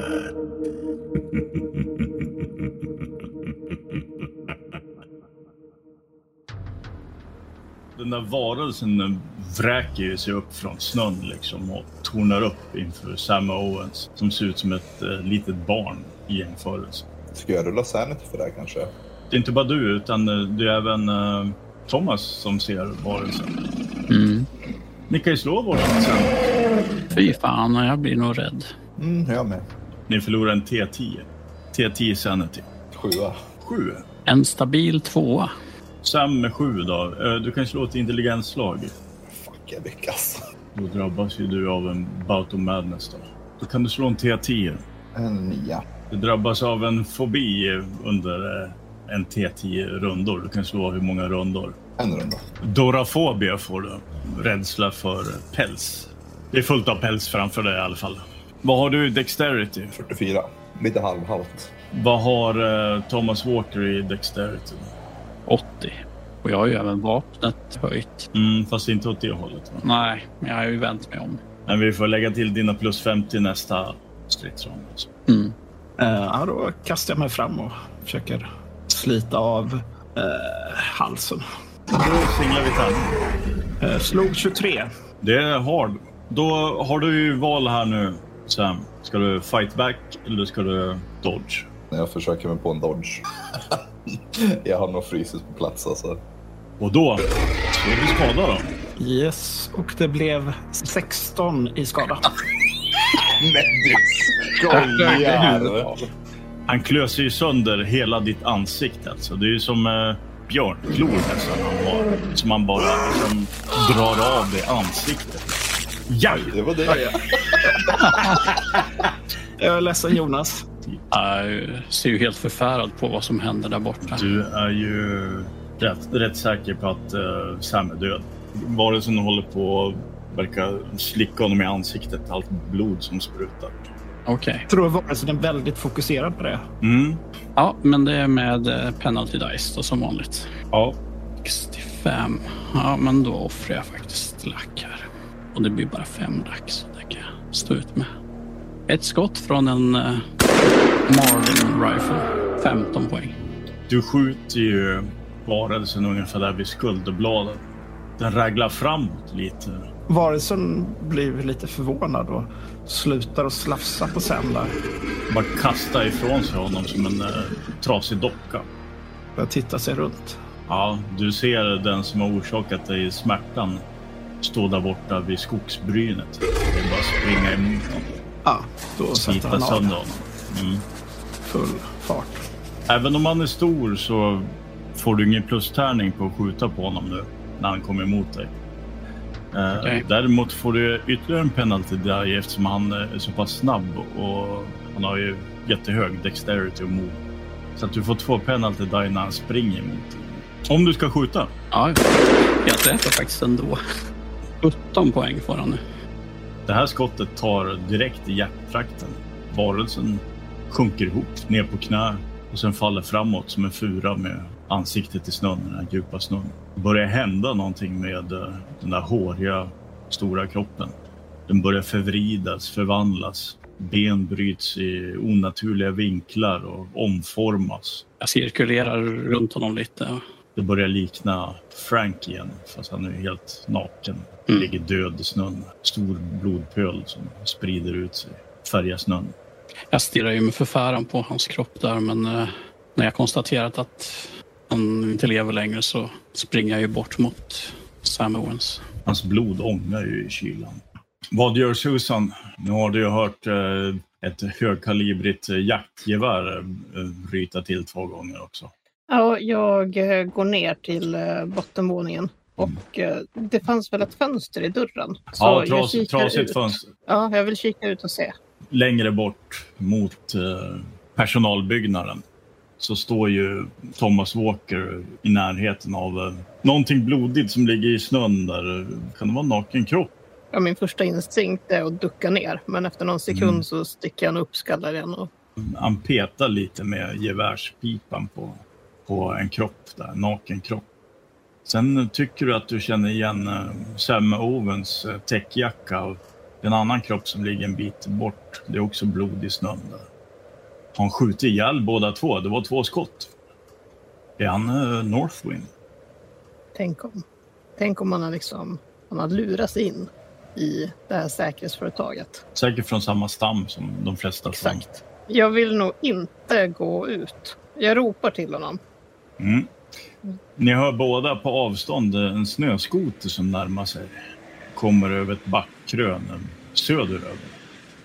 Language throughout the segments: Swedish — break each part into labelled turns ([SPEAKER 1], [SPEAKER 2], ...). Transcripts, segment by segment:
[SPEAKER 1] Skräckblandat. Den där varelsen den vräker ju sig upp från snön liksom och tornar upp inför Sam Owens som ser ut som ett eh, litet barn i jämförelse.
[SPEAKER 2] Ska jag rulla Sanity för det här kanske?
[SPEAKER 1] Det är inte bara du utan eh, det är även eh, Thomas som ser varelsen.
[SPEAKER 3] Mm.
[SPEAKER 1] Ni kan ju slå våran sen.
[SPEAKER 3] Fy fan, jag blir nog rädd.
[SPEAKER 2] Mm, jag med.
[SPEAKER 1] Ni förlorar en T10. T10 Sanity.
[SPEAKER 2] Sjua.
[SPEAKER 1] 7.
[SPEAKER 3] En stabil tvåa.
[SPEAKER 1] Sam med 7 då. Eh, Du kan slå ett intelligensslag.
[SPEAKER 2] Fuck, jag lyckas.
[SPEAKER 1] Då drabbas ju du av en bout of madness då. Då kan du slå en T10.
[SPEAKER 2] En nia.
[SPEAKER 1] Du drabbas av en fobi under eh, en T10 rundor. Du kan slå hur många rundor.
[SPEAKER 2] En runda.
[SPEAKER 1] Dorafobia får du. Rädsla för päls. Det är fullt av päls framför dig i alla fall. Vad har du i Dexterity?
[SPEAKER 2] 44. Lite halvhalt.
[SPEAKER 1] Vad har eh, Thomas Walker i Dexterity?
[SPEAKER 3] 80. Och jag har ju även vapnet höjt.
[SPEAKER 1] Mm, fast inte åt det hållet. Va?
[SPEAKER 3] Nej, men jag har ju vänt mig om.
[SPEAKER 1] Men vi får lägga till dina plus 50 nästa stridsrond. alltså.
[SPEAKER 3] Mm.
[SPEAKER 4] Eh, ja, då kastar jag mig fram och försöker slita av eh, halsen.
[SPEAKER 1] Då singlar vi tärning.
[SPEAKER 4] Eh, slog 23.
[SPEAKER 1] Det är hard. Då har du ju val här nu, Sam. Ska du fight back eller ska du dodge?
[SPEAKER 2] När jag försöker mig på en dodge. jag har nog frysit på plats alltså.
[SPEAKER 1] Och då slår du skada då.
[SPEAKER 4] Yes, och det blev 16 i skada.
[SPEAKER 2] Men du skojar!
[SPEAKER 1] Han klöser ju sönder hela ditt ansikte. Alltså. Det är ju som eh, björnklor nästan han har. Som man bara liksom, drar av det ansiktet. Ah, Ja!
[SPEAKER 2] Det var det.
[SPEAKER 4] Jag är ledsen Jonas.
[SPEAKER 3] Jag ser ju helt förfärad på vad som händer där borta.
[SPEAKER 1] Du är ju rätt, rätt säker på att eh, Sam är död. Varelsen håller på att verka slicka honom i ansiktet. Allt blod som sprutar.
[SPEAKER 3] Okej.
[SPEAKER 4] Jag tror varelsen är väldigt fokuserad på det.
[SPEAKER 1] Mm.
[SPEAKER 3] Ja, men det är med eh, penalty dice då, som vanligt.
[SPEAKER 1] Ja,
[SPEAKER 3] 65. Ja, men då offrar jag faktiskt lack här. Och det blir bara fem lax, så det kan jag stå ut med. Ett skott från en eh, Marlin Rifle. 15 poäng.
[SPEAKER 1] Du skjuter ju varelsen ungefär där vid skulderbladet. Den raglar framåt lite.
[SPEAKER 4] Varelsen blir lite förvånad och slutar att slafsa på Sam där.
[SPEAKER 1] Bara kastar ifrån sig honom som en eh, trasig docka.
[SPEAKER 4] Börjar titta sig runt.
[SPEAKER 1] Ja, du ser den som har orsakat dig smärtan stå där borta vid skogsbrynet. Det är bara att springa emot honom.
[SPEAKER 4] Ja, då sätter
[SPEAKER 1] Slita
[SPEAKER 4] han av
[SPEAKER 1] sönder
[SPEAKER 4] den.
[SPEAKER 1] honom. Mm.
[SPEAKER 4] full fart.
[SPEAKER 1] Även om han är stor så får du ingen plustärning på att skjuta på honom nu när han kommer emot dig. Eh,
[SPEAKER 3] Okej.
[SPEAKER 1] Däremot får du ytterligare en penalty där eftersom han eh, är så pass snabb och han har ju jättehög dexterity och move. Så att du får två penalty där när han springer emot dig. Om du ska skjuta.
[SPEAKER 3] Ja, jag träffar faktiskt ändå. 17 poäng får han nu.
[SPEAKER 1] Det här skottet tar direkt i hjärttrakten. Varelsen sjunker ihop ner på knä och sen faller framåt som en fura med ansiktet i snön, den här djupa snön. Det börjar hända någonting med eh, den där håriga, stora kroppen. Den börjar förvridas, förvandlas. Ben bryts i onaturliga vinklar och omformas.
[SPEAKER 3] Jag cirkulerar runt honom lite.
[SPEAKER 1] Det börjar likna Frank igen, fast han är ju helt naken.
[SPEAKER 3] Mm.
[SPEAKER 1] Ligger död i snön. Stor blodpöl som sprider ut sig. Färgar snön.
[SPEAKER 3] Jag stirrar ju med förfäran på hans kropp där, men eh, när jag konstaterat att han inte lever längre så springer jag ju bort mot Sam Owens.
[SPEAKER 1] Hans blod ångar ju i kylan. Vad gör Susan? Nu har du ju hört eh, ett högkalibrigt eh, jaktgevär eh, ryta till två gånger också.
[SPEAKER 5] Ja, jag eh, går ner till eh, bottenvåningen. Och eh, det fanns väl ett fönster i dörren? Så
[SPEAKER 1] ja,
[SPEAKER 5] jag
[SPEAKER 1] tras,
[SPEAKER 5] kikar
[SPEAKER 1] trasigt
[SPEAKER 5] ut.
[SPEAKER 1] fönster.
[SPEAKER 5] Ja, jag vill kika ut och se.
[SPEAKER 1] Längre bort mot eh, personalbyggnaden så står ju Thomas Walker i närheten av eh, någonting blodigt som ligger i snön där. Kan det vara en naken kropp?
[SPEAKER 5] Ja, min första instinkt är att ducka ner, men efter någon sekund så sticker jag en uppskalle igen. Och,
[SPEAKER 1] Han petar lite med gevärspipan på, på en kropp där, en naken kropp. Sen tycker du att du känner igen eh, Sam Owens eh, täckjacka och en annan kropp som ligger en bit bort. Det är också blod i snön där. Har han skjutit ihjäl båda två? Det var två skott. Är han eh, Northwind?
[SPEAKER 5] tänk om. Tänk om han har, liksom, han har lurats in i det här säkerhetsföretaget.
[SPEAKER 1] Säkert från samma stam som de flesta.
[SPEAKER 5] Exakt. Jag vill nog inte gå ut. Jag ropar till honom.
[SPEAKER 1] Stam. Mm. Ni hör båda på avstånd eh, en snöskoter som närmar sig. Kommer över ett backkrön eh, söderöver.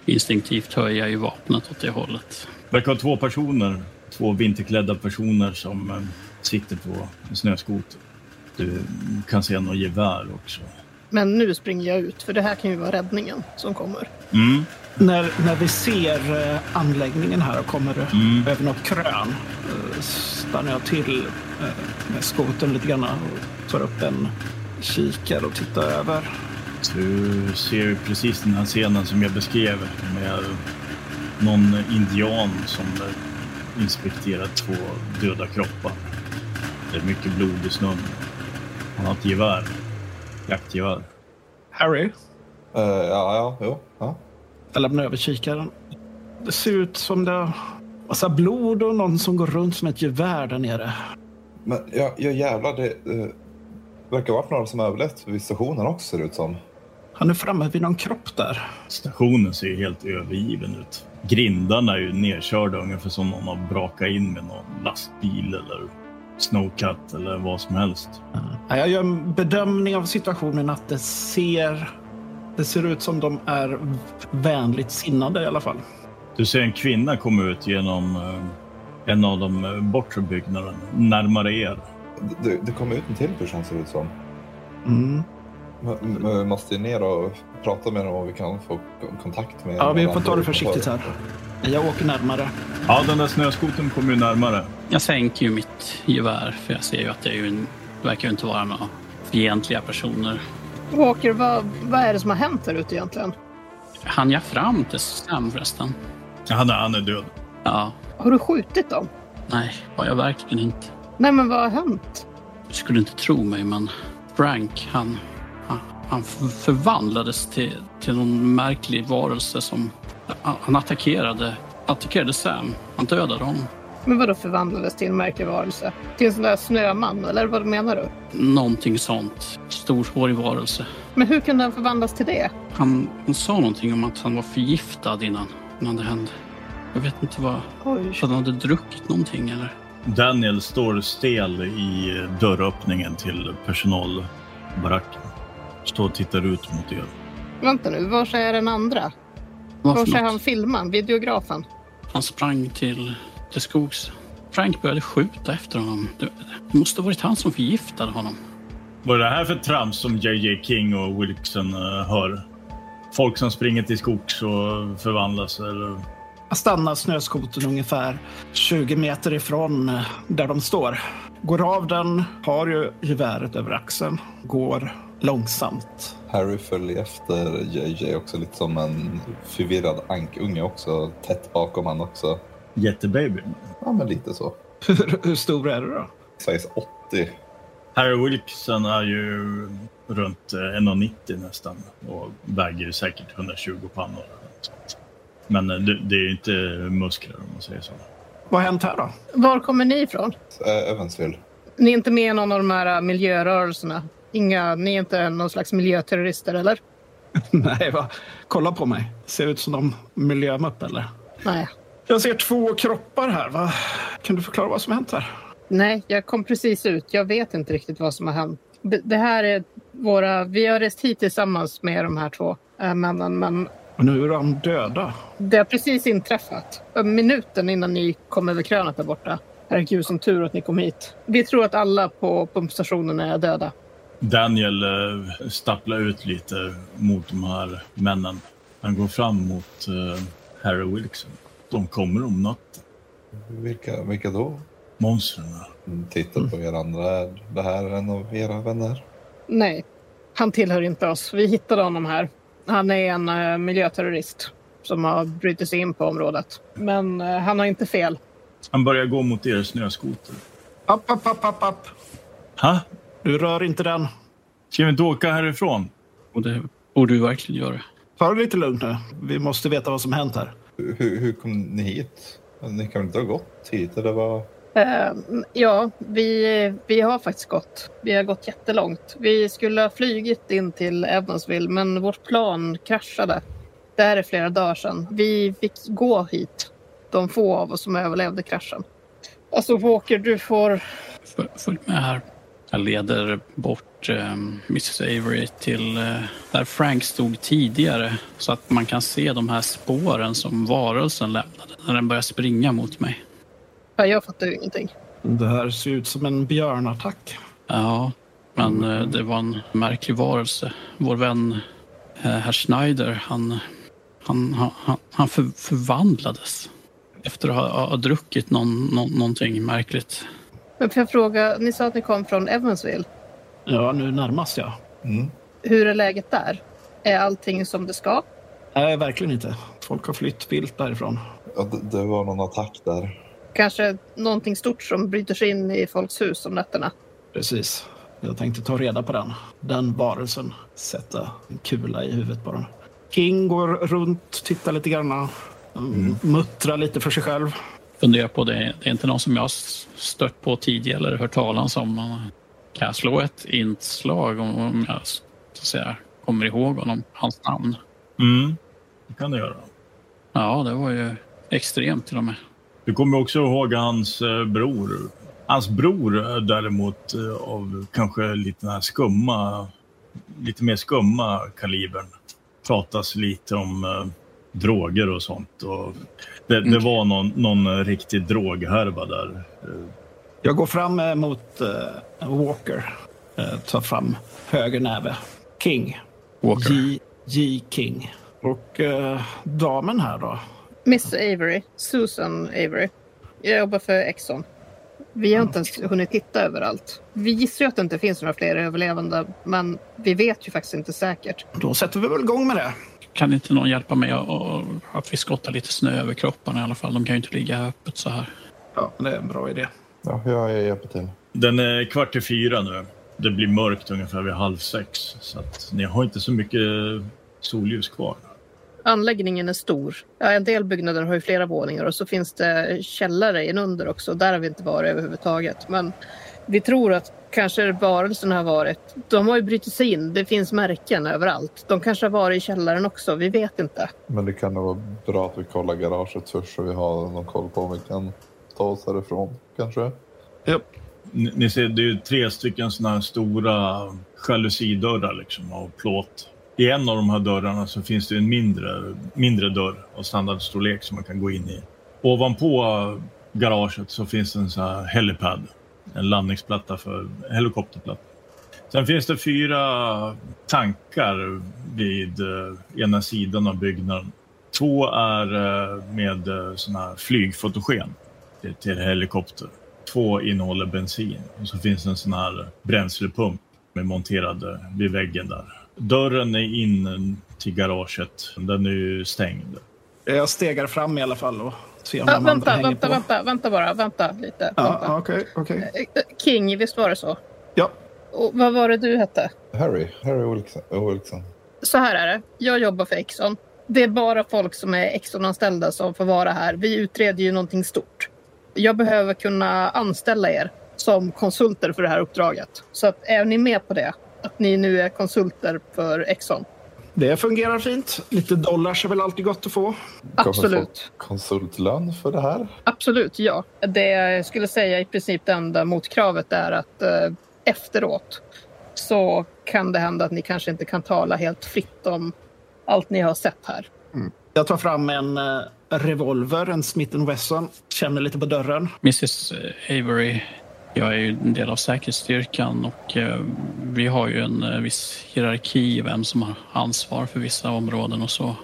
[SPEAKER 3] Instinktivt höjer jag ju vapnet åt det hållet.
[SPEAKER 1] verkar vara två personer, två vinterklädda personer som eh, sitter på en snöskoter. Du kan se något gevär också.
[SPEAKER 5] Men nu springer jag ut, för det här kan ju vara räddningen som kommer.
[SPEAKER 1] Mm.
[SPEAKER 4] När, när vi ser eh, anläggningen här och kommer
[SPEAKER 1] Mm.
[SPEAKER 4] över något krön eh, stannar jag till eh, med skotern lite grann och tar upp en kikare och tittar över.
[SPEAKER 1] Du ser ju precis den här scenen som jag beskrev med någon indian som eh, inspekterar två döda kroppar. Det är mycket blod i snön. Han har ett gevär. Jaktgevär.
[SPEAKER 4] Harry,
[SPEAKER 2] Eh, ja, ja, jo. Ja.
[SPEAKER 4] jag lämnar över kikaren. Det ser ut som det är massa blod och någon som går runt med ett gevär där nere.
[SPEAKER 2] Men ja, ja jävlar, det eh, verkar ha varit några som överlevt vid stationen också ser det ut som.
[SPEAKER 4] Han är framme vid någon kropp där.
[SPEAKER 1] Stationen ser ju helt övergiven ut. Grindarna är ju nerkörda ungefär som någon har brakat in med någon lastbil eller snowcat eller vad som helst.
[SPEAKER 4] Ja, Jag gör en bedömning av situationen att det ser, det ser ut som de är vänligt sinnade i alla fall.
[SPEAKER 1] Du ser en kvinna komma ut genom eh, en av de eh, bortre byggnaderna närmare er.
[SPEAKER 2] Det- Det, det kom ut en till person ser det ut som.
[SPEAKER 4] Mm.
[SPEAKER 2] Men- men Vi måste ju ner och prata med dem om vi kan få k- kontakt med
[SPEAKER 4] Ja, vi
[SPEAKER 2] någon
[SPEAKER 4] får ta
[SPEAKER 2] annan.
[SPEAKER 4] det försiktigt här. Jag åker närmare.
[SPEAKER 1] Ja, den där snöskoten kommer ju närmare.
[SPEAKER 3] Jag sänker ju mitt gevär för jag ser ju att det, är ju en, det verkar ju inte vara några fientliga personer.
[SPEAKER 5] Walker, vad, vad är det som har hänt där ute egentligen?
[SPEAKER 3] Han jag fram till Sam förresten?
[SPEAKER 1] Han är, han är död.
[SPEAKER 3] Ja,
[SPEAKER 5] Har du skjutit dem?
[SPEAKER 3] nej, har jag verkligen inte.
[SPEAKER 5] Nej, men vad har hänt?
[SPEAKER 3] Du skulle inte tro mig, men Frank, han, han, han f- förvandlades till, till någon märklig varelse som... Han han attackerade, attackerade Sam. Han dödade honom.
[SPEAKER 5] Men vadå förvandlades till en märklig varelse? Till en sån där snöman, eller vad menar du?
[SPEAKER 3] Någonting sånt. Storhårig varelse.
[SPEAKER 5] Men hur kunde den förvandlas till det?
[SPEAKER 3] Han, han sa någonting om att han var förgiftad innan, innan det hände. Jag vet inte vad...
[SPEAKER 5] Oj.
[SPEAKER 3] Han hade druckit någonting eller?
[SPEAKER 1] Daniel står stel i eh, dörröppningen till personalbaracken. Står och tittar ut mot er.
[SPEAKER 5] Vänta nu, var är den andra?
[SPEAKER 3] Vad
[SPEAKER 5] Var
[SPEAKER 3] för
[SPEAKER 5] är
[SPEAKER 3] något?
[SPEAKER 5] han filmaren, videografen?
[SPEAKER 3] Han sprang till, till skogs. Frank började skjuta efter honom. Det, det måste ha varit han som förgiftade honom.
[SPEAKER 1] Vad är det här för trams som JJ King och Wilson eh, hör? Folk som springer till skogs och förvandlas eller?
[SPEAKER 4] Jag stannar snöskotern ungefär 20 meter ifrån eh, där de står. Går av den, har ju geväret över axeln, går långsamt.
[SPEAKER 2] Harry följer efter JJ också lite som en förvirrad ankunge också. Tätt bakom han också.
[SPEAKER 1] Jättebaby.
[SPEAKER 2] Ja, men lite så.
[SPEAKER 4] Hur, hur stor är du då?
[SPEAKER 2] Sägs 80.
[SPEAKER 1] Harry Wilson är ju runt eh, 1,90 nästan och väger säkert 120 pannor. Men eh, det, det är ju inte muskler om man säger så.
[SPEAKER 4] Vad har hänt här då?
[SPEAKER 5] Var kommer ni ifrån?
[SPEAKER 2] Äh, Evansville.
[SPEAKER 5] Ni är inte med i någon av de här miljörörelserna? Inga, ni är inte någon slags miljöterrorister, eller?
[SPEAKER 4] Nej, va? Kolla på mig. Ser ut som de miljömupp eller?
[SPEAKER 5] Nej.
[SPEAKER 4] Jag ser två kroppar här. Va? Kan du förklara vad som har hänt här?
[SPEAKER 5] Nej, jag kom precis ut. Jag vet inte riktigt vad som har hänt. B- Det här är våra... Vi har rest hit tillsammans med de här två eh, männen, men
[SPEAKER 4] Och nu är de döda.
[SPEAKER 5] det har precis inträffat. Eh, Minuten innan ni kom över krönet där borta. Herregud, som tur att ni kom hit. Vi tror att alla på pumpstationen är döda.
[SPEAKER 1] Daniel eh, stapplar ut lite mot de här männen. Han går fram mot eh, Harry Wilson. De kommer om natten.
[SPEAKER 2] Vilka, vilka då?
[SPEAKER 1] Monstren.
[SPEAKER 2] Mm, Titta på er andra. Det här är en av era vänner.
[SPEAKER 5] Nej, Han tillhör inte oss. Vi hittade honom här. Han är en eh, miljöterrorist som har brutit sig in på området. Men eh, han har inte fel.
[SPEAKER 1] Han börjar gå mot er snöskoter.
[SPEAKER 4] App, app, app, app, app.
[SPEAKER 1] Ha?
[SPEAKER 4] Du rör inte den.
[SPEAKER 1] Ska vi inte åka härifrån?
[SPEAKER 3] Och det borde vi verkligen göra.
[SPEAKER 4] Ta det lite lugnt nu. Vi måste veta vad som hänt här.
[SPEAKER 2] Hur, hur kom ni hit? Ni kan väl inte ha gått hit? Eller vad?
[SPEAKER 5] Eh, ja, vi, vi har faktiskt gått. Vi har gått jättelångt. Vi skulle ha flugit in till Evansville, men vårt plan kraschade. Det här är flera dagar sedan. Vi fick gå hit, de få av oss som överlevde kraschen. Alltså Walker, du får...
[SPEAKER 3] Föl- Följ med här. Jag leder bort ehm, Mrs Avery till eh, där Frank stod tidigare så att man kan se de här spåren som varelsen lämnade när den började springa mot mig.
[SPEAKER 5] Ja, Jag fattar ju ingenting.
[SPEAKER 4] Det här ser ut som en björnattack.
[SPEAKER 3] Ja, men eh, det var en märklig varelse. Vår vän eh, herr Schneider, han, han, han- han, han för, förvandlades efter att ha, ha, ha druckit någon, någon, någonting märkligt.
[SPEAKER 5] Men får jag fråga, ni sa att ni kom från Evansville.
[SPEAKER 4] Ja, nu närmast jag.
[SPEAKER 2] Mm.
[SPEAKER 5] Hur är läget där? Är allting som det ska?
[SPEAKER 4] Nej, verkligen inte. Folk har flytt vilt därifrån.
[SPEAKER 2] Ja, det, det var någon attack där.
[SPEAKER 5] Kanske någonting stort som bryter sig in i folks hus om nätterna?
[SPEAKER 4] Precis. Jag tänkte ta reda på den. Den varelsen. Sätta en kula i huvudet på den. King går runt, tittar lite grann. Mm. Muttrar lite för sig själv.
[SPEAKER 3] funderar på det. Det är inte någon som jag har stött på tidigare eller hört talas om. Man Kan jag slå ett inslag om- om jag så att säga, kommer ihåg honom, hans namn?
[SPEAKER 1] Mm, det kan du göra.
[SPEAKER 3] Ja, det var ju extremt till och med.
[SPEAKER 1] Du kommer också ihåg hans eh, bror. Hans bror är däremot eh, av kanske lite den här skumma, lite mer skumma kalibern. Pratas lite om eh, droger och sånt. Och det, det
[SPEAKER 3] Mm.
[SPEAKER 1] var någon, någon eh, riktig droghärva där. Eh,
[SPEAKER 4] Jag går fram eh, mot eh, Walker. Eh, tar fram höger näve. King.
[SPEAKER 3] Walker.
[SPEAKER 4] J. J. King. Och eh, damen här då?
[SPEAKER 5] Miss Avery, Susan Avery. Jag jobbar för Exxon. Vi har inte ens hunnit titta överallt. Vi gissar ju att det inte finns några fler överlevande, men vi vet ju faktiskt inte säkert.
[SPEAKER 4] Då sätter vi väl igång med det.
[SPEAKER 3] Kan inte någon hjälpa mig att- att- att vi skottar lite snö över kropparna i alla fall? De kan ju inte ligga öppet så här.
[SPEAKER 4] Ja, det är en bra idé.
[SPEAKER 2] Ja, jag hjälper till.
[SPEAKER 1] Den är kvart i fyra nu. Det blir mörkt ungefär vid halv sex. Så att ni har inte så mycket solljus kvar.
[SPEAKER 5] Anläggningen är stor. Ja, en del byggnader har ju flera våningar och så finns det källare inunder också. Där har vi inte varit överhuvudtaget. Men vi tror att kanske varelsen har varit... De har ju brutit sig in. Det finns märken överallt. De kanske har varit i källaren också. Vi vet inte.
[SPEAKER 2] Men det kan nog vara bra att vi kollar garaget först så vi har någon koll på om vi kan ta oss härifrån kanske.
[SPEAKER 1] Ni, ni ser, det är ju tre stycken sådana här stora jalusidörrar liksom av plåt. I en av de här dörrarna så finns det en mindre, mindre dörr av standardstorlek som man kan gå in i. Ovanpå eh, garaget så finns det en sån här helipad. En landningsplatta för helikopterplatta. Sen finns det fyra tankar vid eh, ena sidan av byggnaden. Två är eh, med eh, såna här flygfotogen till, eh, till helikopter. Två innehåller bensin och så finns det en sån här bränslepump med monterad eh, vid väggen där. Dörren är in till garaget. Den är ju stängd.
[SPEAKER 4] Eh, Jag stegar fram i alla fall och ser om
[SPEAKER 5] Ja,
[SPEAKER 4] de andra
[SPEAKER 5] vänta,
[SPEAKER 4] hänger
[SPEAKER 5] vänta,
[SPEAKER 4] på.
[SPEAKER 5] vänta, vänta bara. Vänta lite.
[SPEAKER 4] Ja,
[SPEAKER 5] vänta.
[SPEAKER 4] ja, okej, okej.
[SPEAKER 5] Eh, King, visst var det så?
[SPEAKER 4] Ja,
[SPEAKER 5] Och vad var det du hette?
[SPEAKER 2] Harry, Harry eh, Wilson. Wilson.
[SPEAKER 5] Så här är det. Jag jobbar för Exxon. Det är bara folk som är Exxon-anställda som får vara här. Vi utreder ju någonting stort. Jag behöver kunna anställa er som konsulter för det här uppdraget. Så att, är ni med på det? Att ni nu är konsulter för Exxon?
[SPEAKER 4] det fungerar fint. Lite dollars är väl alltid gott att få.
[SPEAKER 5] Absolut.
[SPEAKER 2] Konsultlön för det här?
[SPEAKER 5] Absolut, ja. Det jag skulle säga i princip det enda motkravet är att eh, efteråt så kan det hända att ni kanske inte kan tala helt fritt om allt ni har sett här.
[SPEAKER 4] Jag tar fram en eh, revolver, en Smith Wesson. Känner lite på dörren.
[SPEAKER 3] Mrs Avery, jag är ju en del av säkerhetsstyrkan och eh, vi har ju en eh, viss hierarki i vem som har ansvar för vissa områden och så.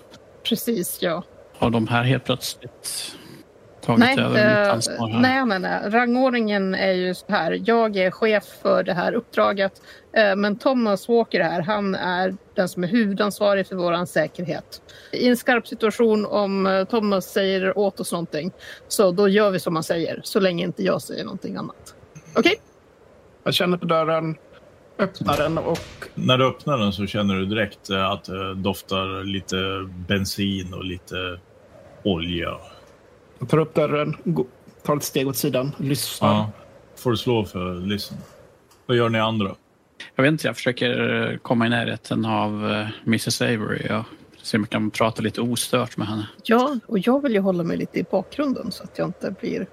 [SPEAKER 5] Precis, ja.
[SPEAKER 3] Har de här helt plötsligt tagit
[SPEAKER 5] Nej,
[SPEAKER 3] över mitt
[SPEAKER 5] eh,
[SPEAKER 3] ansvar här.
[SPEAKER 5] nej, nej, nej. Rangordningen är ju så här. Jag är chef för det här uppdraget. eh, Men Thomas Walker här, han är den som är huvudansvarig för vår säkerhet. I en skarp situation om eh, Thomas säger åt oss någonting, så då gör vi som han säger. Så länge inte jag säger någonting annat. Okej?
[SPEAKER 4] Jag känner på dörren, öppnar den och
[SPEAKER 1] När du öppnar den så känner du direkt eh, att det doftar lite bensin och lite olja.
[SPEAKER 4] tar upp dörren, gå- tar ett steg åt sidan, lyssnar.
[SPEAKER 1] Får du slå för listen. Vad gör ni andra?
[SPEAKER 3] Jag vet inte, jag försöker eh, komma i närheten av eh, Mrs Avery. Jag ser om jag kan prata lite ostört med henne.
[SPEAKER 5] Ja, och jag vill ju hålla mig lite i bakgrunden så att jag inte blir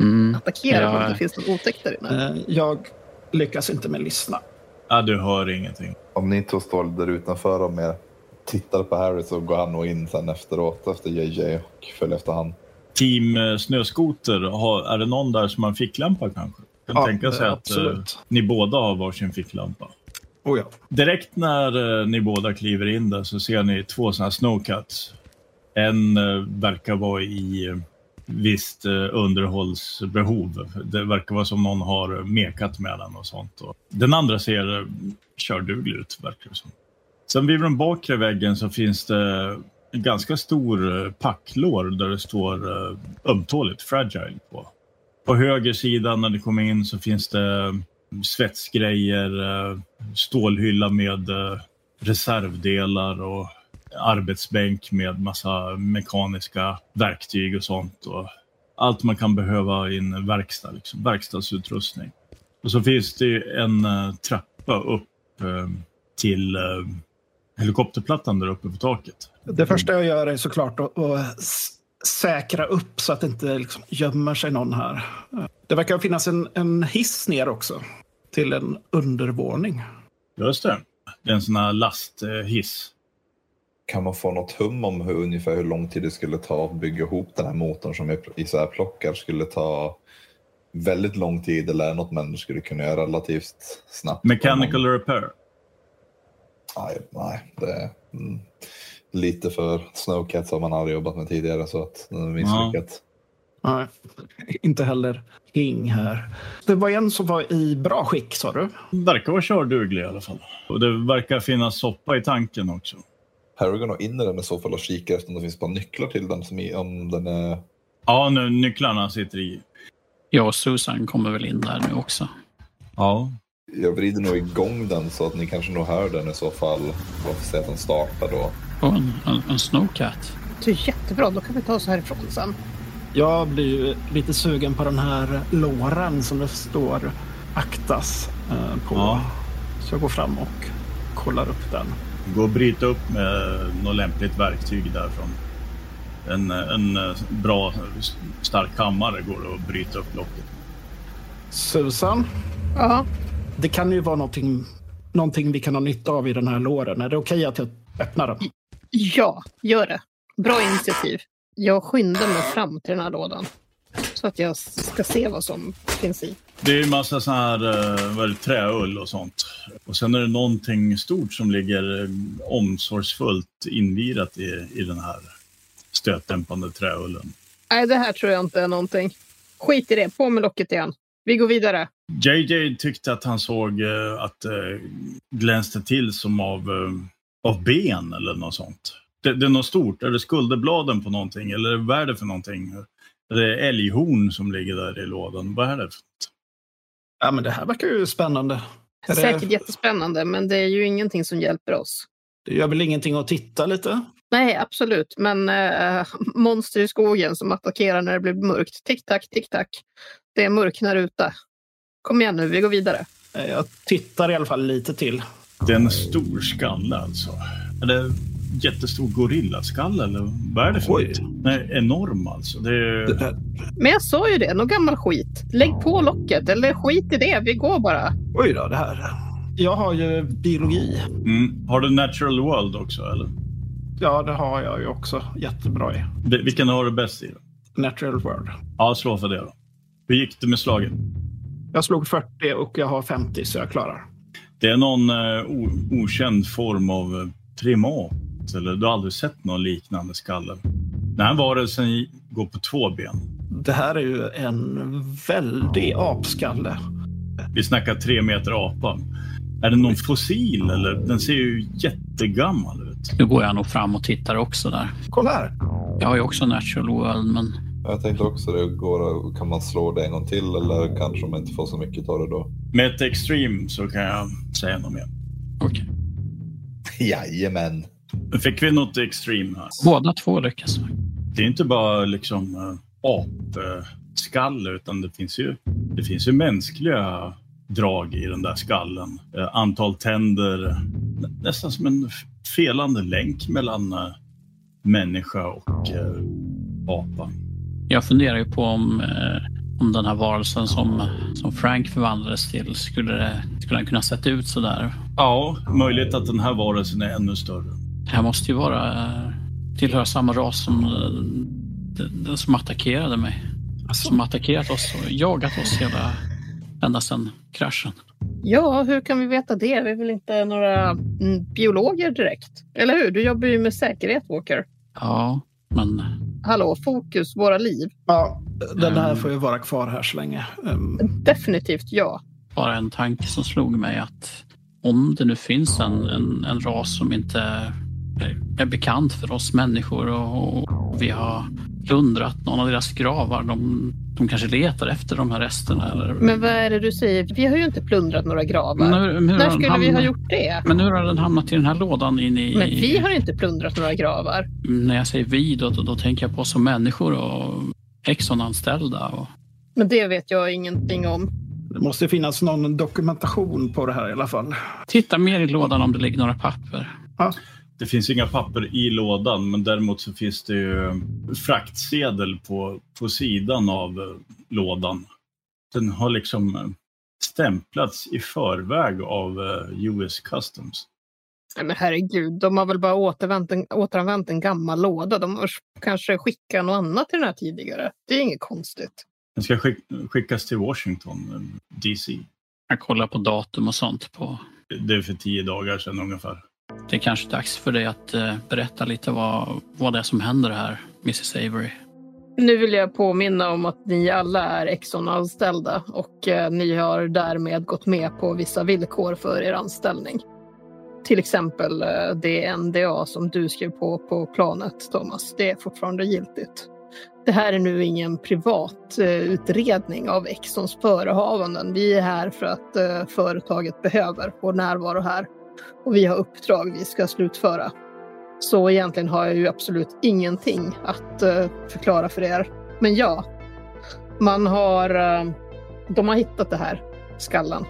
[SPEAKER 3] Mm.
[SPEAKER 5] attackerad
[SPEAKER 3] Ja.
[SPEAKER 5] om det inte finns någon otäckt där inne.
[SPEAKER 4] Eh, Jag lyckas inte med lyssna.
[SPEAKER 1] Ja, Äh, du hör ingenting.
[SPEAKER 2] Om ni två står där utanför och mer tittar på Harry så går han nog in sen efteråt efter JJ och följer efter han.
[SPEAKER 1] Team eh, Snöskoter, har, är det någon där som har en ficklampa kanske? Kan
[SPEAKER 4] Ja,
[SPEAKER 1] tänka sig
[SPEAKER 4] eh,
[SPEAKER 1] att eh,
[SPEAKER 4] absolut.
[SPEAKER 1] ni båda har varsin ficklampa.
[SPEAKER 4] Oh, ja.
[SPEAKER 1] Direkt när eh, ni båda kliver in där så ser ni två sådana här snowcats. En eh, verkar vara i eh, visst eh, underhållsbehov. Det verkar vara som någon har eh, mekat med den och sånt. Och den andra ser eh, körduglig ut, verkar det som. Sen vid den bakre väggen så finns det en ganska stor eh, packlår där det står eh, ömtåligt, fragile, på. På höger sida när ni kommer in så finns det eh, svetsgrejer, eh, stålhylla med eh, reservdelar och arbetsbänk med massa mekaniska verktyg och sånt. Och allt man kan behöva i en verkstad, liksom, verkstadsutrustning. Och så finns det ju en eh, trappa upp eh, till eh, helikopterplattan där uppe på taket.
[SPEAKER 4] Det första jag gör är såklart att, att s- säkra upp så att det inte liksom gömmer sig någon här. Det verkar finnas en, en hiss ner också till en undervåning.
[SPEAKER 1] Just det. Det är en sån här lasthiss.
[SPEAKER 2] Kan man få något hum om hur, ungefär hur lång tid det skulle ta att bygga ihop den här motorn som jag isärplockar? Skulle ta väldigt lång tid eller är det något man skulle kunna göra relativt snabbt? Om
[SPEAKER 1] Mechanical
[SPEAKER 2] man-
[SPEAKER 1] repair.
[SPEAKER 2] Nej, nej det är mm, lite för snowcat som man aldrig jobbat med tidigare så att det är misslyckat.
[SPEAKER 4] Nej, inte heller King här. Det var en som var i bra skick, sa du?
[SPEAKER 1] Verkar vara körduglig i alla fall. Och det verkar finnas soppa i tanken också.
[SPEAKER 2] Harry går nog in i den i så fall och kikar efter om det finns bara nycklar till den som i, om den är
[SPEAKER 1] Ja, nu, nycklarna sitter i.
[SPEAKER 3] Jag och Susan kommer väl in där nu också.
[SPEAKER 1] Ja.
[SPEAKER 2] Jag vrider nog igång den så att ni kanske nog hör den i så fall. Varför säga att den startar då?
[SPEAKER 3] Och en, en, en snowcat.
[SPEAKER 5] Det är jättebra, då kan vi ta oss härifrån sen.
[SPEAKER 4] Jag blir ju lite sugen på den här låren som det står aktas eh, på.
[SPEAKER 1] Ja.
[SPEAKER 4] Så jag går fram och kollar upp den.
[SPEAKER 1] Gå och bryta upp med något lämpligt verktyg därifrån. En, en eh, bra s- stark hammare går det att bryta upp locket.
[SPEAKER 4] Susan,
[SPEAKER 5] Ja,
[SPEAKER 4] det kan ju vara någonting, någonting vi kan ha nytta av i den här låren. Är det okej att jag öppnar den?
[SPEAKER 5] ja, gör det. Bra initiativ. Jag skyndar mig fram till den här lådan. Så att jag ska se vad som finns i.
[SPEAKER 1] Det är ju massa sån här eh, vad är det, träull och sånt. Och sen är det någonting stort som ligger eh, omsorgsfullt invirat i, i den här stötdämpande träullen.
[SPEAKER 5] Nej, det här tror jag inte är någonting. Skit i det, på med locket igen. Vi går vidare.
[SPEAKER 1] JJ tyckte att han såg eh, att det glänste till som av, eh, av ben eller något sånt. Det, det är något stort. Är det skulderbladen på någonting eller vad är det för någonting? Är det älghorn som ligger där i lådan? Vad är det? För?
[SPEAKER 4] Ja, men det här verkar ju spännande. Är det-
[SPEAKER 5] Säkert jättespännande, men det är ju ingenting som hjälper oss.
[SPEAKER 4] Det gör väl ingenting att titta lite?
[SPEAKER 5] Nej, absolut. Men eh, monster i skogen som attackerar när det blir mörkt. Tick tack, tick tack. Det är mörknar ute. Kom igen nu, vi går vidare.
[SPEAKER 4] Eh, Jag tittar i alla fall lite till.
[SPEAKER 1] Det är en stor skalle alltså. Är det en jättestor gorillaskalle eller vad är det för
[SPEAKER 4] Oj.
[SPEAKER 1] något? Nej, enorm alltså. Det är...
[SPEAKER 4] Det- det-
[SPEAKER 5] Men jag sa ju det, någon gammal skit. Lägg på locket, eller skit i det, vi går bara.
[SPEAKER 4] Oj då, det här. Jag har ju biologi.
[SPEAKER 1] Mm. Har du natural world också eller?
[SPEAKER 4] Ja, det har jag ju också jättebra i.
[SPEAKER 1] Vi- Vilken har du bäst i? Då?
[SPEAKER 4] Natural World.
[SPEAKER 1] Ja, slå för det då. Hur gick det med slaget?
[SPEAKER 4] Jag slog 40 och jag har 50 så jag klarar.
[SPEAKER 1] Det är någon eh, o- okänd form av eh, primat. Eller du har aldrig sett någon liknande skalle. Den här varelsen går på två ben.
[SPEAKER 4] Det här är ju en väldig apskalle.
[SPEAKER 1] Vi snackar tre meter apa. Är den någon fossil eller? Den ser ju jättegammal ut.
[SPEAKER 3] Nu går jag nog fram och tittar också där.
[SPEAKER 4] Kolla här!
[SPEAKER 3] Jag har ju också natural world, men
[SPEAKER 2] Jag tänkte också det. Går, kan man slå det en gång till eller kanske om man inte får så mycket av det då?
[SPEAKER 1] Med ett extreme så kan jag säga något mer.
[SPEAKER 3] okej.
[SPEAKER 2] Jajamän.
[SPEAKER 1] Fick vi något extreme här?
[SPEAKER 3] Båda två lyckas.
[SPEAKER 1] Det är inte bara liksom eh, apskalle utan det finns, ju, det finns ju mänskliga drag i den där skallen. Eh, Antal tänder, nä- nästan som en f- felande länk mellan eh, människa och eh, apa.
[SPEAKER 3] Jag funderar ju på om, eh, om den här varelsen som, som Frank förvandlades till, skulle, det, skulle den kunna sett ut så där?
[SPEAKER 1] Ja, möjligt att den här varelsen är ännu större.
[SPEAKER 3] Det här måste ju vara, eh, tillhöra samma ras som eh, den, den som attackerade mig. Som attackerat oss och jagat oss hela, ända sedan kraschen.
[SPEAKER 5] Ja, hur kan vi veta det? Vi är väl inte några mm, biologer direkt? Eller hur? Du jobbar ju med säkerhet, Walker.
[SPEAKER 3] Ja, men
[SPEAKER 5] Hallå, fokus, våra liv.
[SPEAKER 4] Ja, den här
[SPEAKER 3] Mm.
[SPEAKER 4] får ju vara kvar här så länge. Ehm,
[SPEAKER 5] Definitivt ja.
[SPEAKER 3] bara en tanke som slog mig att om det nu finns en, en, en ras som inte är- är bekant för oss människor och, och vi har plundrat någon av deras gravar. De, de kanske letar efter de här resterna. Eller,
[SPEAKER 5] Men vad är det du säger? Vi har ju inte plundrat några gravar.
[SPEAKER 3] Men hur, hur har
[SPEAKER 5] När
[SPEAKER 3] den
[SPEAKER 5] skulle vi
[SPEAKER 3] hamnat-
[SPEAKER 5] ha gjort det?
[SPEAKER 3] Men hur har den hamnat i den här lådan in i...
[SPEAKER 5] Men vi har inte plundrat några gravar.
[SPEAKER 3] När jag säger vi, då, då, då tänker jag på oss som människor och Exxon-anställda. Och,
[SPEAKER 5] Men det vet jag ingenting om.
[SPEAKER 4] Det måste ju finnas någon dokumentation på det här i alla fall.
[SPEAKER 3] titta mer i lådan om det ligger några papper.
[SPEAKER 1] Det finns inga papper i lådan, men däremot så finns det ju fraktsedel på, på sidan av eh, lådan. Den har liksom eh, stämplats i förväg av eh, US Customs.
[SPEAKER 5] Nej, men herregud, de har väl bara återvänt en, återanvänt en gammal låda. De har kanske skickat något annat till den här tidigare. Det är inget konstigt.
[SPEAKER 1] Den ska skick, skickas till Washington, eh, DC.
[SPEAKER 3] Jag kollar på datum och sånt på
[SPEAKER 1] Det är för tio dagar sedan ungefär.
[SPEAKER 3] Det är kanske dags för dig att eh, berätta lite vad, vad det är som händer här, Mrs Avery.
[SPEAKER 5] Nu vill jag påminna om att ni alla är Exxon-anställda och eh, ni har därmed gått med på vissa villkor för er anställning. Till exempel eh, det NDA som du skrev på på planet, Thomas. Det är fortfarande giltigt. Det här är nu ingen privat eh, utredning av Exxons förehavanden. Vi är här för att eh, företaget behöver vår närvaro här och vi har uppdrag vi ska slutföra. Så egentligen har jag ju absolut ingenting att eh, förklara för er. Men ja, man har... eh, de har hittat det här, skallen.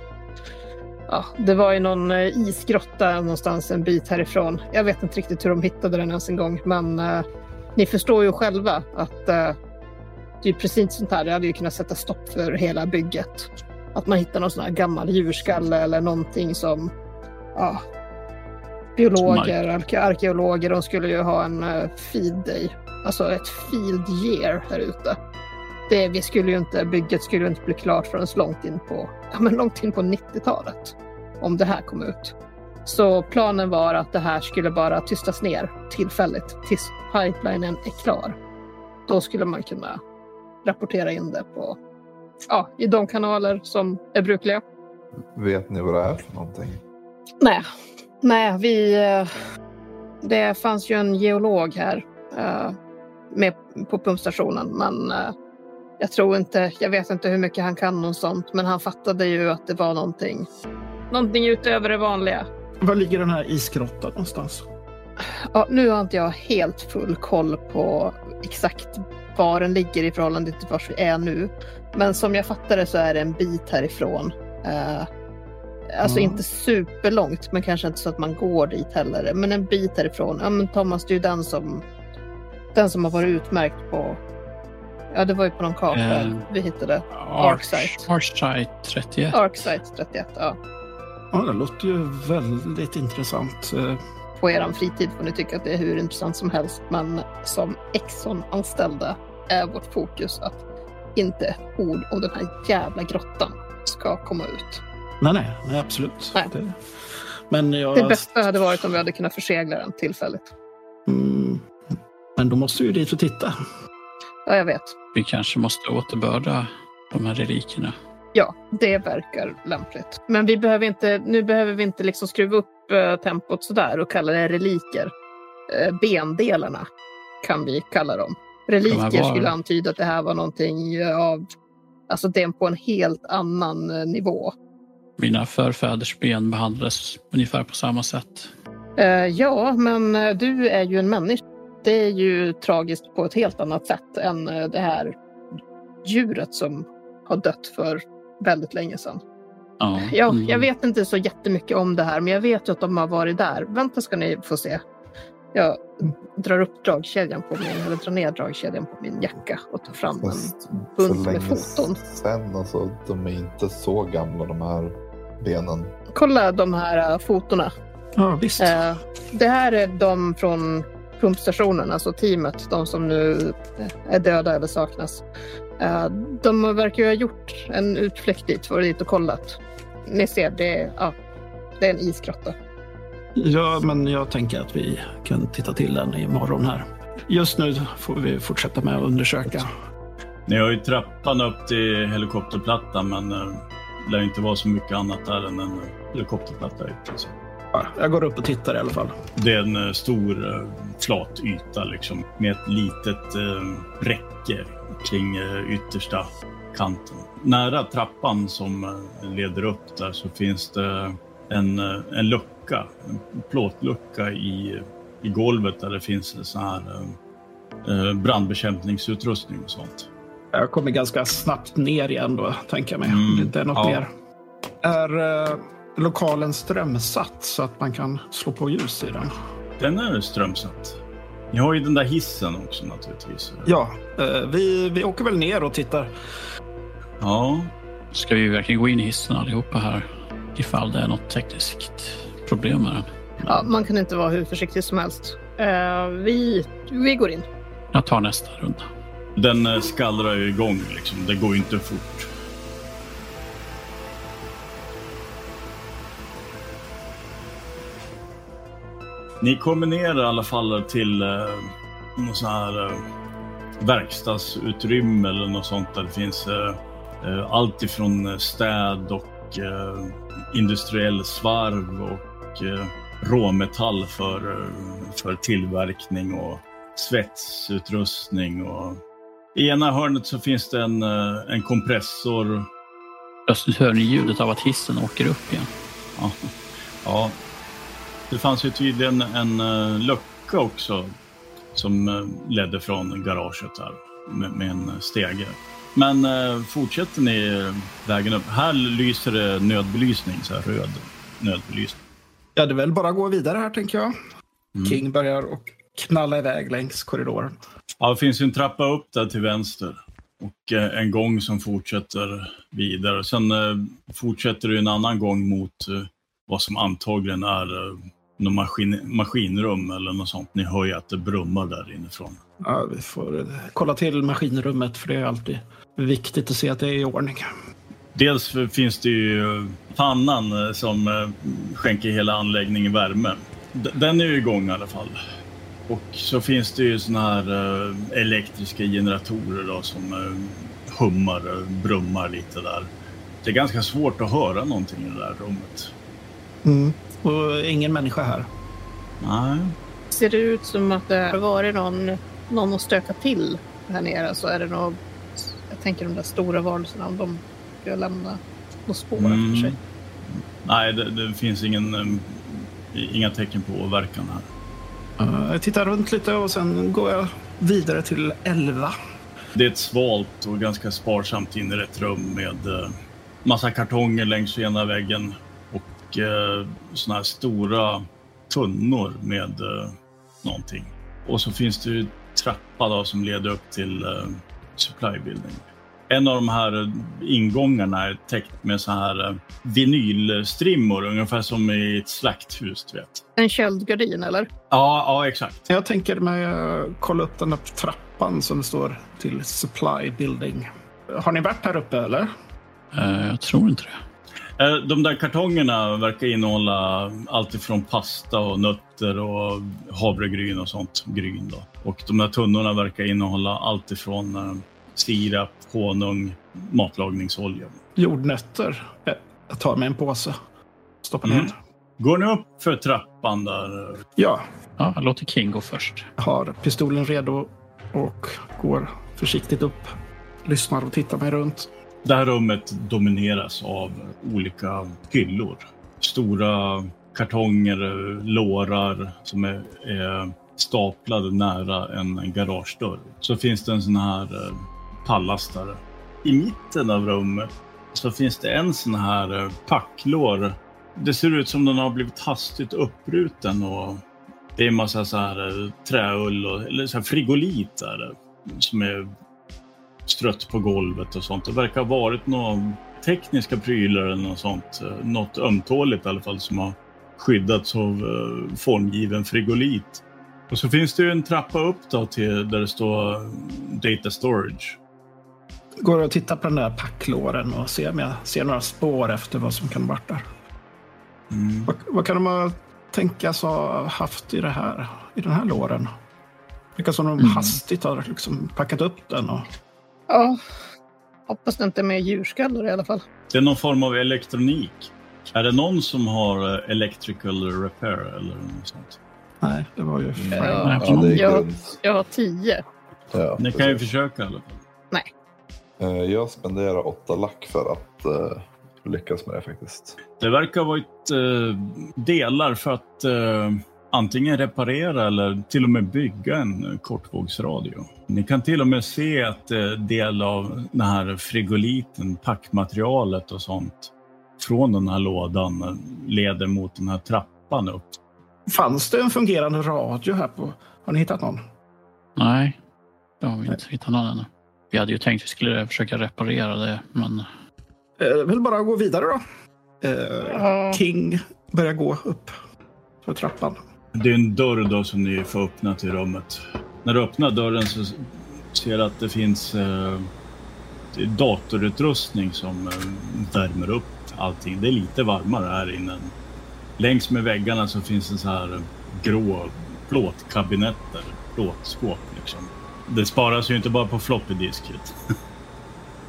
[SPEAKER 5] Ja, det var i någon eh, isgrotta någonstans en bit härifrån. Jag vet inte riktigt hur de hittade den ens en gång, men eh, ni förstår ju själva att eh, det är precis sånt här. Det hade ju kunnat sätta stopp för hela bygget. Att man hittar någon sån här gammal djurskalle eller någonting som ja, biologer, arke- arkeologer, de skulle ju ha en eh, feed day, alltså ett field year här ute. Det, vi skulle ju inte, bygget skulle ju inte bli klart förrän långt in på, ja, men långt in på 90-talet om det här kom ut. Så planen var att det här skulle bara tystas ner tillfälligt tills pipelinen är klar. Då skulle man kunna rapportera in det på, ja, i de kanaler som är brukliga.
[SPEAKER 2] Vet ni vad det är för någonting?
[SPEAKER 5] Nej, nej, vi... eh, Det fanns ju en geolog här eh, med på pumpstationen, men eh, jag tror inte, jag vet inte hur mycket han kan och sånt, men han fattade ju att det var någonting, någonting utöver det vanliga.
[SPEAKER 4] Var ligger den här isgrottan någonstans?
[SPEAKER 5] Ja, nu har inte jag helt full koll på exakt var den ligger i förhållande till var vi är nu. Men som jag fattar det så är det en bit härifrån. Eh, alltså
[SPEAKER 4] Mm.
[SPEAKER 5] inte superlångt, men kanske inte så att man går dit heller. Men en bit härifrån. Ja, men Thomas, det är ju den som, den som har varit utmärkt på... Ja, det var ju på någon karta
[SPEAKER 3] Eh.
[SPEAKER 5] vi hittade. Arksite.
[SPEAKER 3] Archsite 31.
[SPEAKER 5] Arksite 31, ja.
[SPEAKER 4] Ja, det låter ju väldigt intressant. Eh,
[SPEAKER 5] på er fritid får ni tycka att det är hur intressant som helst. Men som Exxon-anställda är vårt fokus att inte ett ord om den här jävla grottan ska komma ut.
[SPEAKER 4] Nej, nej, nej absolut.
[SPEAKER 5] Nej.
[SPEAKER 4] Det, men jag...
[SPEAKER 5] Det bästa hade varit om vi hade kunnat försegla den tillfälligt.
[SPEAKER 4] Mm, men Men då måste vi ju dit och titta.
[SPEAKER 5] Ja, jag vet.
[SPEAKER 3] Vi kanske måste återbörda de här relikerna.
[SPEAKER 5] Ja, det verkar lämpligt. Men vi behöver inte, nu behöver vi inte liksom skruva upp eh, tempot sådär och kalla det reliker. Eh, bendelarna kan vi kalla dem.
[SPEAKER 3] De här
[SPEAKER 5] Reliker
[SPEAKER 3] var-
[SPEAKER 5] skulle antyda att det här var någonting eh, av... Alltså det är på en helt annan eh, nivå.
[SPEAKER 3] Mina förfäders ben behandlades ungefär på samma sätt.
[SPEAKER 5] Eh, ja, men eh, du är ju en människa. Det är ju tragiskt på ett helt annat sätt än eh, det här djuret som har dött för väldigt länge sedan.
[SPEAKER 3] Ja,
[SPEAKER 5] Ja,
[SPEAKER 3] mm.
[SPEAKER 5] jag vet inte så jättemycket om det här, men jag vet ju att de har varit där. Vänta ska ni få se. Jag drar upp dragkedjan på min, eller drar ner dragkedjan på min jacka och tar fram den.
[SPEAKER 2] Fast
[SPEAKER 5] bunt
[SPEAKER 2] för
[SPEAKER 5] med
[SPEAKER 2] länge
[SPEAKER 5] foton.
[SPEAKER 2] Sen alltså, de är inte så gamla de här benen.
[SPEAKER 5] Kolla de här äh, fotona.
[SPEAKER 4] Ja, visst.
[SPEAKER 5] Eh, det här är de från pumpstationen, alltså teamet, de som nu är döda eller saknas. Eh, de verkar ju ha gjort en utflykt dit, varit dit och kollat. Ni ser, det är, ja, det är en isgrotta.
[SPEAKER 4] Ja, men jag tänker att vi kan titta till den imorgon här. Just nu får vi fortsätta med att undersöka.
[SPEAKER 1] Ni har ju trappan upp till helikopterplattan men eh, det lär inte vara så mycket annat där än en eh, helikopterplatta. i princip.
[SPEAKER 4] Ja, Jag går upp och tittar i alla fall.
[SPEAKER 1] Det är en eh, stor eh, flat yta liksom, med ett litet eh, räcke kring eh, yttersta kanten. Nära trappan som eh, leder upp där så finns det en, eh, en lucka, en plåtlucka i, i golvet där det finns eh, sån här eh, eh, brandbekämpningsutrustning och sånt.
[SPEAKER 4] Jag kommer ganska snabbt ner igen då, tänker jag mig.
[SPEAKER 1] Mm,
[SPEAKER 4] Om det inte är något
[SPEAKER 1] ja.
[SPEAKER 4] mer. Är eh, lokalen strömsatt så att man kan slå på ljus i den?
[SPEAKER 1] Den är strömsatt. Ni har ju den där hissen också naturligtvis.
[SPEAKER 4] Ja, eh, vi, vi åker väl ner och tittar.
[SPEAKER 1] Ja,
[SPEAKER 3] Ska vi verkligen gå in i hissen allihopa här? Ifall det är något tekniskt problem med den.
[SPEAKER 5] Ja, man kan inte vara hur försiktig som helst. Eh, vi, vi går in.
[SPEAKER 3] Jag tar nästa runda.
[SPEAKER 1] den eh, skallrar ju igång liksom. Det går ju inte fort. Ni kommer ner i alla fall till eh, någon sån här eh, verkstadsutrymme eller något sånt där det finns eh, eh, allt ifrån eh, städ och eh, industriell svarv och eh, råmetall för, eh, för tillverkning och svetsutrustning. Och... I ena hörnet så finns det en, eh, en kompressor.
[SPEAKER 3] Plötsligt hör ni ljudet av att hissen åker upp igen.
[SPEAKER 1] Ja. ja. Det fanns ju tydligen en eh, lucka också som eh, ledde från garaget här med, med en stege. Men eh, fortsätter ni eh, vägen upp? Här lyser det nödbelysning, så här röd nödbelysning.
[SPEAKER 4] Ja, det är väl bara att gå vidare här, tänker jag.
[SPEAKER 1] Mm.
[SPEAKER 4] King börjar och knalla iväg längs korridoren.
[SPEAKER 1] Ja, det finns ju en trappa upp där till vänster och eh, en gång som fortsätter vidare. Sen eh, fortsätter det en annan gång mot eh, vad som antagligen är eh, någon maskin, maskinrum eller något sånt. Ni hör ju att det brummar där inifrån.
[SPEAKER 4] Ja, vi får eh, kolla till maskinrummet, för det är alltid viktigt att se att det är i ordning.
[SPEAKER 1] Dels för- finns det ju eh, pannan eh, som eh, skänker hela anläggningen värme. D- Den är ju igång i alla fall. Och så finns det ju såna här eh, elektriska generatorer då, som eh, hummar och brummar lite där. Det är ganska svårt att höra någonting i det där rummet. Mm.
[SPEAKER 4] Och ingen människa här.
[SPEAKER 1] Nej.
[SPEAKER 5] Ser det ut som att det har varit någon, någon att stöka till här nere så är det nog, jag tänker de där stora varelserna, de ska lämna några spår
[SPEAKER 1] Mm.
[SPEAKER 5] efter sig.
[SPEAKER 1] Nej, det, det finns ingen, eh, inga tecken på åverkan här.
[SPEAKER 4] Eh, Jag tittar runt lite och sen går jag vidare till 11.
[SPEAKER 1] Det är ett svalt och ganska sparsamt inrett rum med eh, massa kartonger längs ena väggen och eh, såna här stora tunnor med eh, någonting. Och så finns det ju trappa då som leder upp till eh, supply building. En av de här eh, ingångarna är täckt med så här eh, vinylstrimmor, ungefär som i ett slakthus, du vet.
[SPEAKER 5] En köldgardin eller?
[SPEAKER 1] Ja, ja, exakt.
[SPEAKER 4] Jag tänker mig eh, kolla upp den där trappan som står till Supply Building. Har ni varit här uppe eller?
[SPEAKER 3] Eh, Jag tror inte det.
[SPEAKER 1] Eh, De där kartongerna verkar innehålla allt ifrån pasta och nötter och havregryn och sånt. Gryn då. Och de där tunnorna verkar innehålla allt ifrån eh, sirap, honung, matlagningsolja.
[SPEAKER 4] Jordnötter. Eh, Jag tar med en påse. Stoppar
[SPEAKER 1] Mm.
[SPEAKER 4] ner.
[SPEAKER 1] Går ni upp för trappan där? eh,
[SPEAKER 4] Ja,
[SPEAKER 3] Ja, jag låter King gå först.
[SPEAKER 4] jag har pistolen redo och går försiktigt upp. Lyssnar och tittar mig runt.
[SPEAKER 1] Det här rummet domineras av olika hyllor. Stora kartonger, eh, lårar som är, är staplade nära en garagedörr. Så finns det en sån här eh, pallastare. I mitten av rummet så finns det en sån här eh, packlår. Det ser ut som den har blivit hastigt uppruten och det är en massa så här eh, träull och eller så här frigolit där eh, som är strött på golvet och sånt. Det verkar ha varit några tekniska prylar eller något sånt. eh, Något ömtåligt i alla fall som har skyddats av eh, formgiven frigolit. Och så finns det ju en trappa upp då till där det står eh, Data Storage.
[SPEAKER 4] Går och tittar på den där packlåren och ser om jag ser några spår efter vad som kan ha varit där.
[SPEAKER 1] Mm.
[SPEAKER 4] Vad, vad kan de ha tänkas ha haft i, det här, i den här låren? Vilka som de hastigt har liksom packat upp den och
[SPEAKER 5] Ja. Hoppas det inte är mer djurskallar i alla fall.
[SPEAKER 1] Det är någon form av elektronik. Är det någon som har eh, electrical repair eller något sånt?
[SPEAKER 4] Nej, det var ju Frank.
[SPEAKER 5] Ja.
[SPEAKER 2] Eh, Ja, det är
[SPEAKER 5] Ja.
[SPEAKER 2] grymt.
[SPEAKER 5] Jag har tio.
[SPEAKER 2] Ja,
[SPEAKER 1] Ni kan ju
[SPEAKER 2] precis.
[SPEAKER 1] försöka i alla fall.
[SPEAKER 2] Eh, Jag spenderar åtta lack för att eh, lyckas med det faktiskt.
[SPEAKER 1] Det verkar ha varit eh, delar för att eh, antingen reparera eller till och med bygga en eh, kortvågsradio. Ni kan till och med se att eh, del av den här frigoliten, packmaterialet och sånt från den här lådan eh, leder mot den här trappan upp.
[SPEAKER 4] Fanns det en fungerande radio här på... Har ni hittat någon?
[SPEAKER 3] Nej, det har vi inte hittat någon ännu. Vi hade ju tänkt att vi skulle försöka reparera det, men
[SPEAKER 4] Eh, vill bara gå vidare då. Eh,
[SPEAKER 5] Ja.
[SPEAKER 4] King börjar gå upp för trappan.
[SPEAKER 1] Det är en dörr då som ni får öppna till rummet. När du öppnar dörren så ser du att det finns eh, datorutrustning som eh, värmer upp allting. Det är lite varmare här inne. Längs med väggarna så finns det så här eh, grå plåtkabinetter, plåtskåp liksom. Det sparas ju inte bara på floppy disket.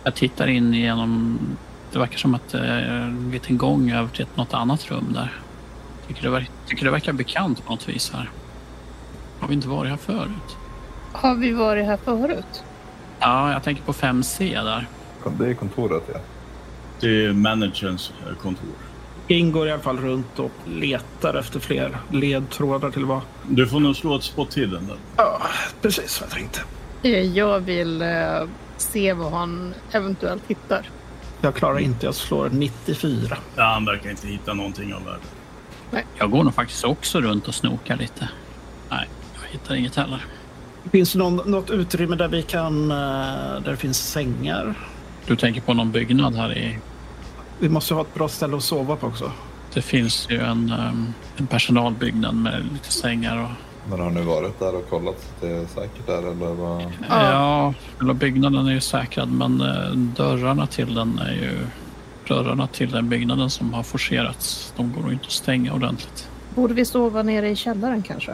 [SPEAKER 3] jag tittar in genom... Det verkar som att eh, det är en liten gång över till ett- något annat rum där. Tycker det, verkar, tycker det verkar bekant på något vis här. Har vi inte varit här förut?
[SPEAKER 5] Har vi varit här förut?
[SPEAKER 3] Ja, jag tänker på 5C där.
[SPEAKER 2] Det är kontoret, ja.
[SPEAKER 1] Det är managerns eh, kontor.
[SPEAKER 4] King går i alla fall runt och letar efter fler ledtrådar till vad...
[SPEAKER 1] Du får nog slå ett spot hidden där.
[SPEAKER 4] Ja, precis vad jag tänkte.
[SPEAKER 5] Eh, Jag vill eh, se vad han eventuellt hittar.
[SPEAKER 4] Jag klarar inte, jag slår 94.
[SPEAKER 1] Ja, han verkar inte hitta någonting av värde.
[SPEAKER 3] Jag går nog faktiskt också runt och snokar lite. Nej, jag hittar inget heller.
[SPEAKER 4] Finns det någon, något utrymme där vi kan... eh, Där det finns sängar?
[SPEAKER 3] Du tänker på någon byggnad här i...
[SPEAKER 4] Vi måste ha ett bra ställe att sova på också.
[SPEAKER 3] Det finns ju en, ehm, en personalbyggnad med lite sängar och
[SPEAKER 2] Men har ni varit där och kollat så att det är säkert där eller vad?
[SPEAKER 5] Ja.
[SPEAKER 3] Ja, själva byggnaden är ju säkrad men eh, dörrarna till den är ju... Dörrarna till den byggnaden som har forcerats, de går nog inte att stänga ordentligt.
[SPEAKER 5] Borde vi sova nere i källaren kanske?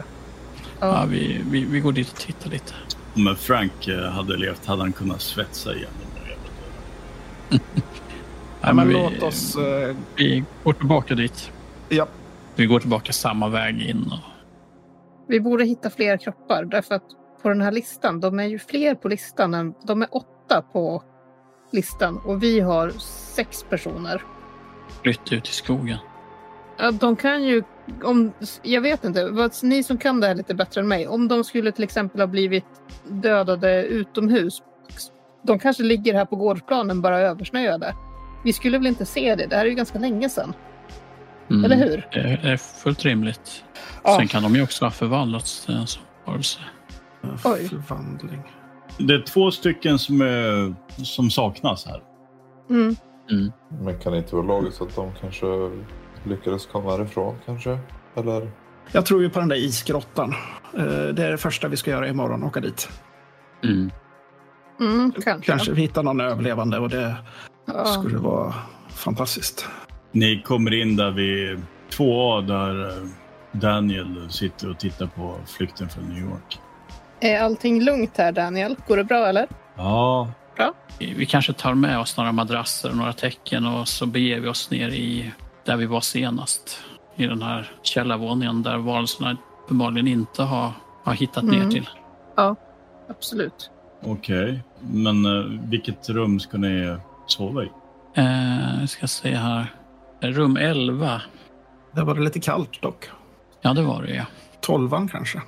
[SPEAKER 3] Ja.
[SPEAKER 5] Ja.
[SPEAKER 3] vi, vi, vi går dit och tittar lite.
[SPEAKER 1] Om Frank eh, hade levt hade han kunnat svetsa igen. den där jävla dörren.
[SPEAKER 3] Ja,
[SPEAKER 4] men
[SPEAKER 3] vi,
[SPEAKER 4] låt oss... eh,
[SPEAKER 3] vi går tillbaka dit.
[SPEAKER 4] Ja,
[SPEAKER 3] Vi går tillbaka samma väg in. Och,
[SPEAKER 5] Vi borde hitta fler kroppar därför att på den här listan, de är ju fler på listan än de är åtta på listan och vi har sex personer.
[SPEAKER 3] flytt ut i skogen.
[SPEAKER 5] Ja, de kan ju... Om, jag vet inte, vad, ni som kan det här lite bättre än mig. Om de skulle till exempel ha blivit dödade utomhus. De kanske ligger här på gårdsplanen bara översnöade. Vi skulle väl inte se det? Det här är ju ganska länge sedan.
[SPEAKER 3] Mm,
[SPEAKER 5] Eller hur?
[SPEAKER 3] Det är fullt rimligt.
[SPEAKER 5] Ja.
[SPEAKER 3] Sen kan de ju också ha förvandlats till en sån varelse.
[SPEAKER 5] Oj.
[SPEAKER 4] förvandling.
[SPEAKER 1] Det är två stycken som, är, som saknas här.
[SPEAKER 5] Mm.
[SPEAKER 2] Men kan det inte vara logiskt att de kanske lyckades komma härifrån kanske? Eller?
[SPEAKER 4] Jag tror ju på den där isgrottan. Eh, Det är det första vi ska göra imorgon, åka dit.
[SPEAKER 3] Mm.
[SPEAKER 5] Mm, kanske.
[SPEAKER 4] Kanske vi hittar någon överlevande och det
[SPEAKER 5] Ja.
[SPEAKER 4] skulle vara fantastiskt.
[SPEAKER 1] Ni kommer in där vid 2A där eh, Daniel sitter och tittar på flykten från New York.
[SPEAKER 5] Är allting lugnt här, Daniel? Går det bra, eller?
[SPEAKER 1] Ja,
[SPEAKER 3] Vi kanske tar med oss några madrasser och några tecken och så beger vi oss ner i där vi var senast. I den här källarvåningen där varelserna uppenbarligen inte har, har hittat ner
[SPEAKER 5] Mm.
[SPEAKER 3] till.
[SPEAKER 5] Absolut.
[SPEAKER 1] okej. Men eh, vilket rum ska ni sova i?
[SPEAKER 3] Eh, vi ska se här. Rum 11.
[SPEAKER 4] Där var det lite kallt dock.
[SPEAKER 3] Ja, det var det ja.
[SPEAKER 4] Tolvan kanske.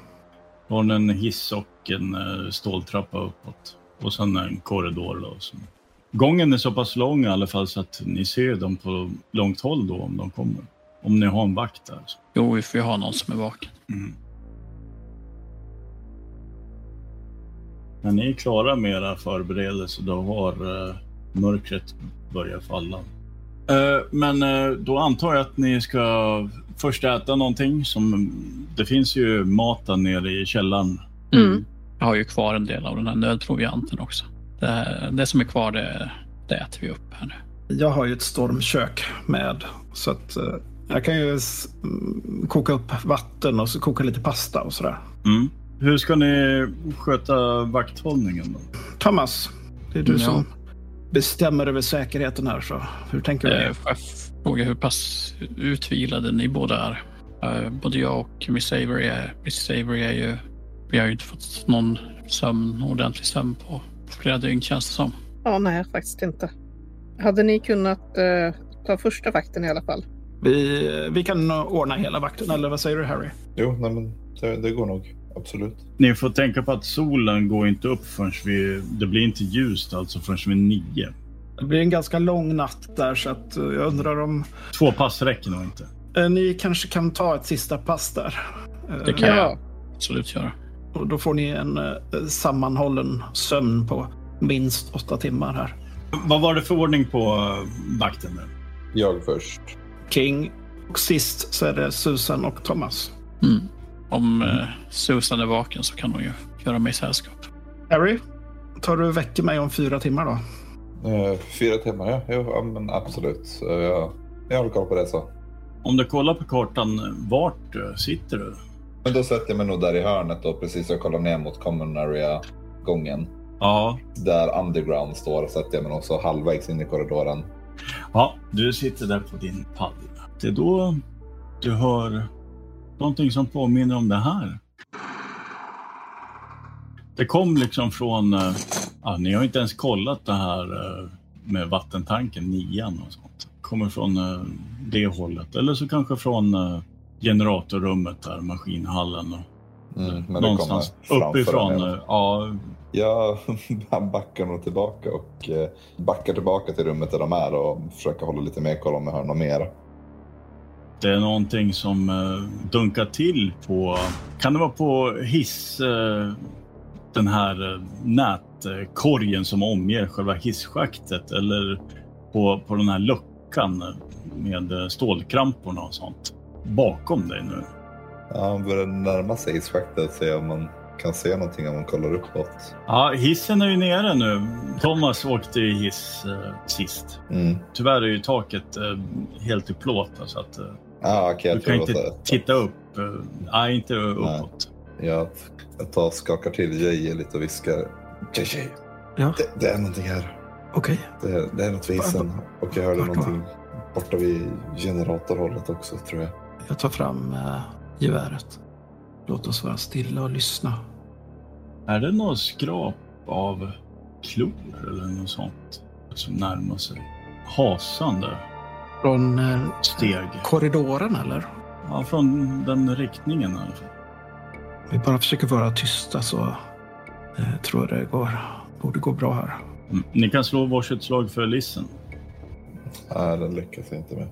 [SPEAKER 1] Från en hiss och en eh, ståltrappa uppåt. Och sen en korridor. Då, som... Gången är så pass lång i alla fall så att ni ser dem på långt håll då om de kommer. Om ni har en vakt där.
[SPEAKER 3] Jo, vi får ju ha någon som är vaken.
[SPEAKER 1] När ni är klara med era förberedelser då har eh, mörkret börjat falla. Eh, men eh, då antar jag att ni ska först äta någonting. Som, det finns ju mat där nere i källaren.
[SPEAKER 5] Mm.
[SPEAKER 3] Jag har ju kvar en del av den här nödprovianten också. Det, här, det som är kvar, det, det äter vi upp här nu.
[SPEAKER 4] Jag har ju ett stormkök med. Så att eh, jag kan ju s- mm, koka upp vatten och så koka lite pasta och sådär.
[SPEAKER 1] Mm. Hur ska ni sköta vakthållningen då?
[SPEAKER 4] Thomas, det är du
[SPEAKER 3] Ja.
[SPEAKER 4] som bestämmer över säkerheten här. Så hur tänker du?
[SPEAKER 3] Eh, Får jag fråga hur pass utvilade ni båda är? Eh, Både jag och Miss Avery är, Miss Avery är ju... Vi har ju inte fått någon sömn, ordentlig sömn på flera dygn känns det som.
[SPEAKER 5] Ja, nej, faktiskt inte. Hade ni kunnat eh, ta första vakten i alla fall?
[SPEAKER 4] Vi, vi kan eh, ordna hela vakten, eller vad säger du Harry?
[SPEAKER 2] Jo, nej, men det, det går nog. Absolut.
[SPEAKER 1] Ni får tänka på att solen går inte upp förrän vi... Det blir inte ljust alltså förrän vid nio.
[SPEAKER 4] Det blir en ganska lång natt där så att eh, jag undrar om
[SPEAKER 1] Två pass räcker nog inte.
[SPEAKER 4] eh, ni kanske kan ta ett sista pass där. Eh,
[SPEAKER 3] Det kan jag absolut göra.
[SPEAKER 4] Och då får ni en eh, sammanhållen sömn på minst åtta timmar här.
[SPEAKER 1] Vad var det för ordning på eh, vakten? nu?
[SPEAKER 2] Jag först.
[SPEAKER 4] King och sist så är det Susan och Thomas.
[SPEAKER 3] Mm. Om eh, Susan är vaken så kan hon ju göra mig sällskap.
[SPEAKER 4] Harry, tar du och väcker mig om fyra timmar då?
[SPEAKER 2] Eh, fyra timmar, ja. Jo, ja men absolut. Eh, jag, jag håller koll på det så.
[SPEAKER 1] Om du kollar på kartan, vart eh, sitter du?
[SPEAKER 2] Men då sätter jag mig nog där i hörnet och precis och kollar ner mot common area-gången.
[SPEAKER 1] Ja.
[SPEAKER 2] Där underground står sätter jag mig nog så halvvägs in i korridoren.
[SPEAKER 1] ja, du sitter där på din pall. Det är då du hör någonting som påminner om det här. Det kom liksom från... eh, Ja, ni har inte ens kollat det här eh, med vattentanken, nian och sånt. Kommer från eh, det hållet. Eller så kanske från eh, generatorrummet där, maskinhallen. Och
[SPEAKER 2] Mm, men det
[SPEAKER 1] någonstans
[SPEAKER 2] kommer framför
[SPEAKER 1] uppifrån.
[SPEAKER 2] en hel-
[SPEAKER 1] eh, Ja,
[SPEAKER 2] Jag backar nog tillbaka och eh, backar tillbaka till rummet där de är och försöker hålla lite mer koll om jag hör något mer.
[SPEAKER 1] Det är någonting som eh, dunkar till på, kan det vara på hiss, eh, den här eh, nätkorgen som omger själva hisschaktet eller på, på den här luckan med eh, stålkramporna och sånt bakom dig nu.
[SPEAKER 2] Ja, han börjar närma sig isschaktet och se om man kan se någonting om man kollar uppåt.
[SPEAKER 1] Ja, hissen är ju nere nu. Thomas åkte ju hiss eh, sist.
[SPEAKER 2] Mm.
[SPEAKER 1] Tyvärr är ju taket eh, helt i plåt så att eh,
[SPEAKER 2] Ah, okay,
[SPEAKER 1] du
[SPEAKER 2] jag
[SPEAKER 1] kan
[SPEAKER 2] tror
[SPEAKER 1] inte
[SPEAKER 2] att-
[SPEAKER 1] titta upp. eh, Nej, inte uppåt.
[SPEAKER 2] Jag, jag tar och skakar till JJ lite och viskar. JJ,
[SPEAKER 4] Ja,
[SPEAKER 2] det, det är någonting här.
[SPEAKER 4] okej.
[SPEAKER 2] Det, det är något vid isen. Och jag hörde
[SPEAKER 4] Vart då?
[SPEAKER 2] någonting borta vid generatorhållet också tror jag.
[SPEAKER 4] Jag tar fram eh, geväret. Låt oss vara stilla och lyssna.
[SPEAKER 1] Är det något skrap av klor eller något sånt som närmar sig? Hasande
[SPEAKER 4] Från eh,
[SPEAKER 1] steg.
[SPEAKER 4] korridoren eller?
[SPEAKER 1] Ja, från den riktningen i alla fall.
[SPEAKER 4] Vi bara försöker vara tysta så eh, tror jag det går. borde gå bra här.
[SPEAKER 1] Mm. Ni kan slå varsitt slag för Lissen.
[SPEAKER 2] Nej, det lyckas jag inte med.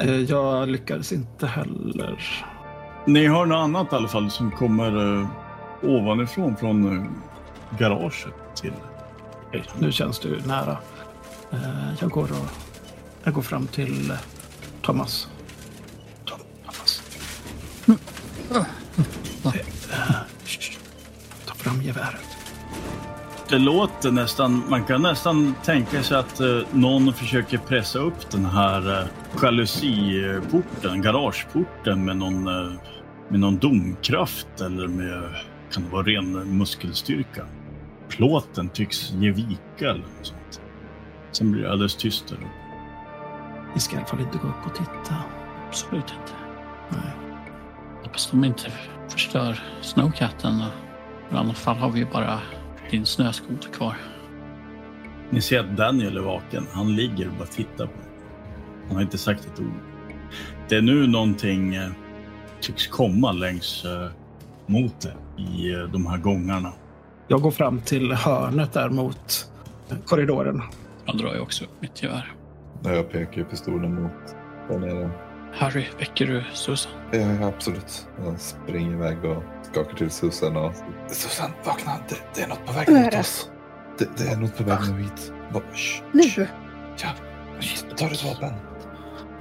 [SPEAKER 4] Eh, jag lyckades inte heller.
[SPEAKER 1] Ni hör något annat i alla fall som kommer eh, ovanifrån från eh, garaget till
[SPEAKER 4] Okej, Nu känns det ju nära. Eh, jag, går och, jag går fram till eh, Thomas. Tom, Thomas.
[SPEAKER 3] Mm.
[SPEAKER 4] Eh, eh, shh. Ta fram geväret.
[SPEAKER 1] det låter nästan, man kan nästan tänka sig att eh, någon försöker pressa upp den här eh, jalousiporten, garageporten med någon, eh, med någon domkraft eller med, kan det vara ren muskelstyrka? Plåten tycks ge vika eller något sånt. Sen blir det alldeles tyst där uppe.
[SPEAKER 4] Vi ska i alla fall inte gå upp och titta.
[SPEAKER 3] Absolut inte.
[SPEAKER 4] Nej.
[SPEAKER 3] Hoppas de inte förstör snowcatten. I annat fall har vi ju bara din snöskoter kvar.
[SPEAKER 1] Ni ser att Daniel är vaken. Han ligger och bara tittar på er. Han har inte sagt ett ord. Det är nu någonting eh, tycks komma längs eh, mot er i eh, de här gångarna.
[SPEAKER 4] Jag går fram till hörnet där mot eh, korridoren.
[SPEAKER 3] Jag drar ju också upp mitt gevär.
[SPEAKER 2] Ja, Jag pekar ju pistolen mot där nere.
[SPEAKER 3] Harry, väcker du Susan?
[SPEAKER 2] Ja, ja, absolut. Jag springer iväg och skakar till Susan och... Susan, vakna! Det, det är något på väg
[SPEAKER 5] Vad är
[SPEAKER 2] mot
[SPEAKER 5] det? Ah.
[SPEAKER 2] oss. Det, det är något på väg mot hit. Va, shh, shh,
[SPEAKER 5] Nu!
[SPEAKER 2] shh, ta ditt vapen.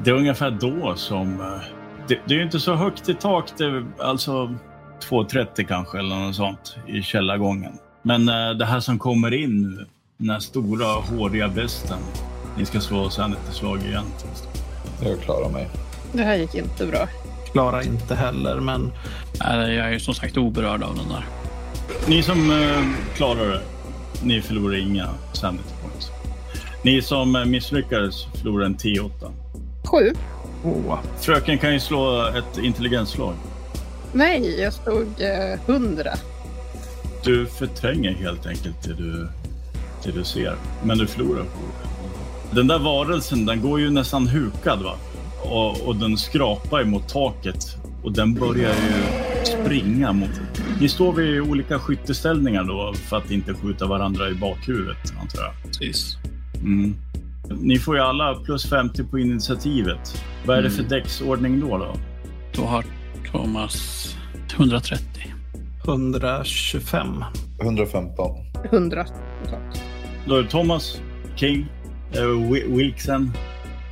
[SPEAKER 1] Det är ungefär då som... eh, Det, det är ju inte så högt i tak. Det är alltså 2,30 kanske eller något sånt i källargången. Men eh, det här som kommer in nu, den här stora håriga västen. Ni ska slå sanity slag igen.
[SPEAKER 2] Jag klarar mig.
[SPEAKER 5] Det här gick inte bra.
[SPEAKER 4] Klara inte heller, men
[SPEAKER 3] Nej, Jag är ju som sagt oberörd av den där.
[SPEAKER 1] Ni som eh, klarar det, ni förlorar inga sanity points. Ni som eh, misslyckades förlorar en T8.
[SPEAKER 5] Sju?
[SPEAKER 4] åh,
[SPEAKER 1] Fröken kan ju slå ett intelligensslag.
[SPEAKER 5] Nej, jag stod eh, hundra.
[SPEAKER 1] Du förtränger helt enkelt det du, det du ser, men du förlorar på det. Den där varelsen, den går ju nästan hukad va? Och, och den skrapar ju mot taket och den börjar ju springa mot... Ni står vid olika skytteställningar då för att inte skjuta varandra i bakhuvudet antar jag.
[SPEAKER 3] Precis.
[SPEAKER 1] Mm. Ni får ju alla plus 50 på initiativet. Vad är det för däcksordning då? då?
[SPEAKER 3] Då har Thomas 130.
[SPEAKER 4] 125.
[SPEAKER 2] 115.
[SPEAKER 5] Hundra.
[SPEAKER 1] Då är det Thomas, King, eh, Wi- Wilksen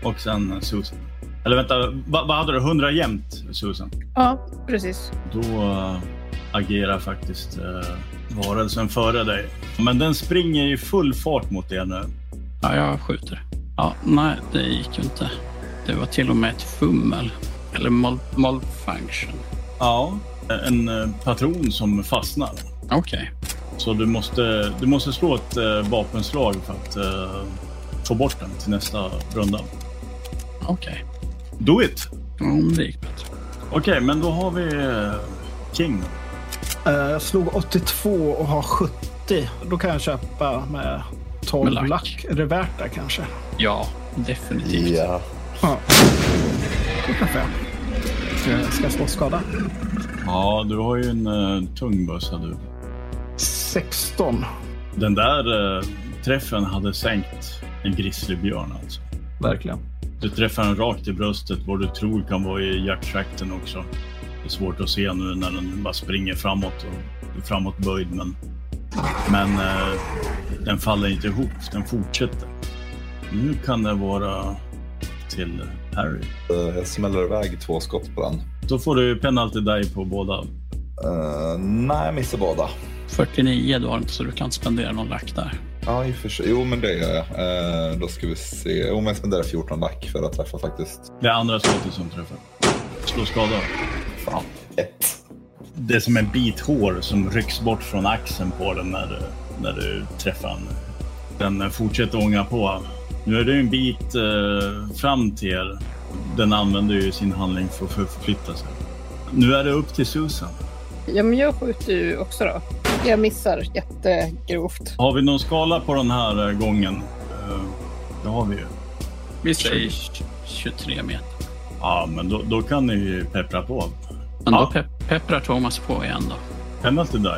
[SPEAKER 1] och sen eh, Susan. Eller vänta, va- vad hade du? 100 jämnt, Susan?
[SPEAKER 5] Ja, precis.
[SPEAKER 1] Då eh, agerar faktiskt eh, varelsen före dig. Men den springer i full fart mot er nu.
[SPEAKER 3] Ja, jag skjuter. Ja, nej, det gick ju inte. Det var till och med ett fummel. Eller mal- malfunction.
[SPEAKER 1] Ja. En eh, patron som fastnar.
[SPEAKER 3] Okej.
[SPEAKER 1] Så du måste, du måste slå ett eh, vapenslag för att eh, få bort den till nästa runda.
[SPEAKER 3] Okej.
[SPEAKER 1] Do it!
[SPEAKER 3] Ja, men det gick bättre.
[SPEAKER 1] Okej, men då har vi eh, King.
[SPEAKER 4] Eh, Jag slog 82 och har 70. Då kan jag köpa med 12
[SPEAKER 3] Med lack.
[SPEAKER 4] lack. Är det värt det kanske?
[SPEAKER 3] Ja, definitivt.
[SPEAKER 2] Ja.
[SPEAKER 4] Ja. Det kanske jag. Ska jag- Ska jag slå skada?
[SPEAKER 1] Ja, du har ju en eh, tung bössa du.
[SPEAKER 4] 16.
[SPEAKER 1] Den där eh, träffen hade sänkt en grizzlybjörn alltså.
[SPEAKER 4] Verkligen.
[SPEAKER 1] Du träffar den rakt i bröstet, vad du tror kan vara i hjärttrakten också. Det är svårt att se nu när den bara springer framåt och är framåtböjd, men, men eh, den faller inte ihop, den fortsätter. Nu kan det vara till Harry.
[SPEAKER 2] Eh, Jag smäller iväg två skott på den.
[SPEAKER 1] Då får du penalty die på båda.
[SPEAKER 2] Eh, nej, jag missar båda.
[SPEAKER 3] 49 du har inte, så du kan inte spendera någon lack där.
[SPEAKER 2] Ja, i och för sig. Jo, men det gör jag. Eh, då ska vi se. Jo, men jag spenderar 14 lack för att träffa faktiskt.
[SPEAKER 1] Det är andra skottet som träffar. Slå skada.
[SPEAKER 2] Fan. Ett.
[SPEAKER 1] Det är som en bit hår som rycks bort från axeln på den när, du- när du träffar den. Den fortsätter ånga på. Nu är det en bit eh, fram till er. Den använder ju sin handling för att för- förflytta sig. Nu är det upp till Susan.
[SPEAKER 5] Ja, men jag skjuter ju också då. Jag missar jättegrovt.
[SPEAKER 1] Har vi någon skala på den här eh, gången? Eh, det har vi ju.
[SPEAKER 3] Vi säger 23 meter.
[SPEAKER 1] Ja, men då, då kan ni ju peppra på.
[SPEAKER 3] Men
[SPEAKER 1] Ja.
[SPEAKER 3] då pep- pepprar Thomas på igen då.
[SPEAKER 1] Penalty die.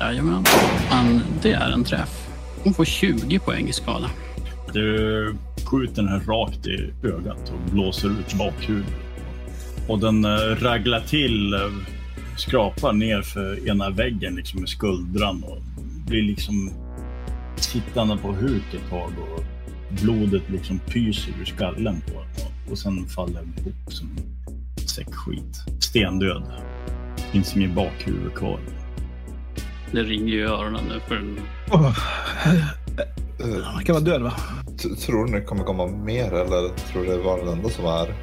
[SPEAKER 3] Jajamän. Han, det är en träff. Hon får 20 poäng i skada.
[SPEAKER 1] Du skjuter den här rakt i ögat och blåser ut bakhuvudet. Och den eh, raglar till, eh, skrapar ner för ena väggen liksom med skuldran och blir liksom sittande på huk ett tag och blodet liksom pyser ur skallen på den. Och sen faller den ihop som en säck skit. Stendöd. Finns inget bakhuvud kvar.
[SPEAKER 3] Det ringer ju i öronen nu för den
[SPEAKER 4] Åh,
[SPEAKER 2] Eh,
[SPEAKER 4] han kan vara död va?
[SPEAKER 2] t- Tror ni det kommer komma mer eller tror du det var den enda som är?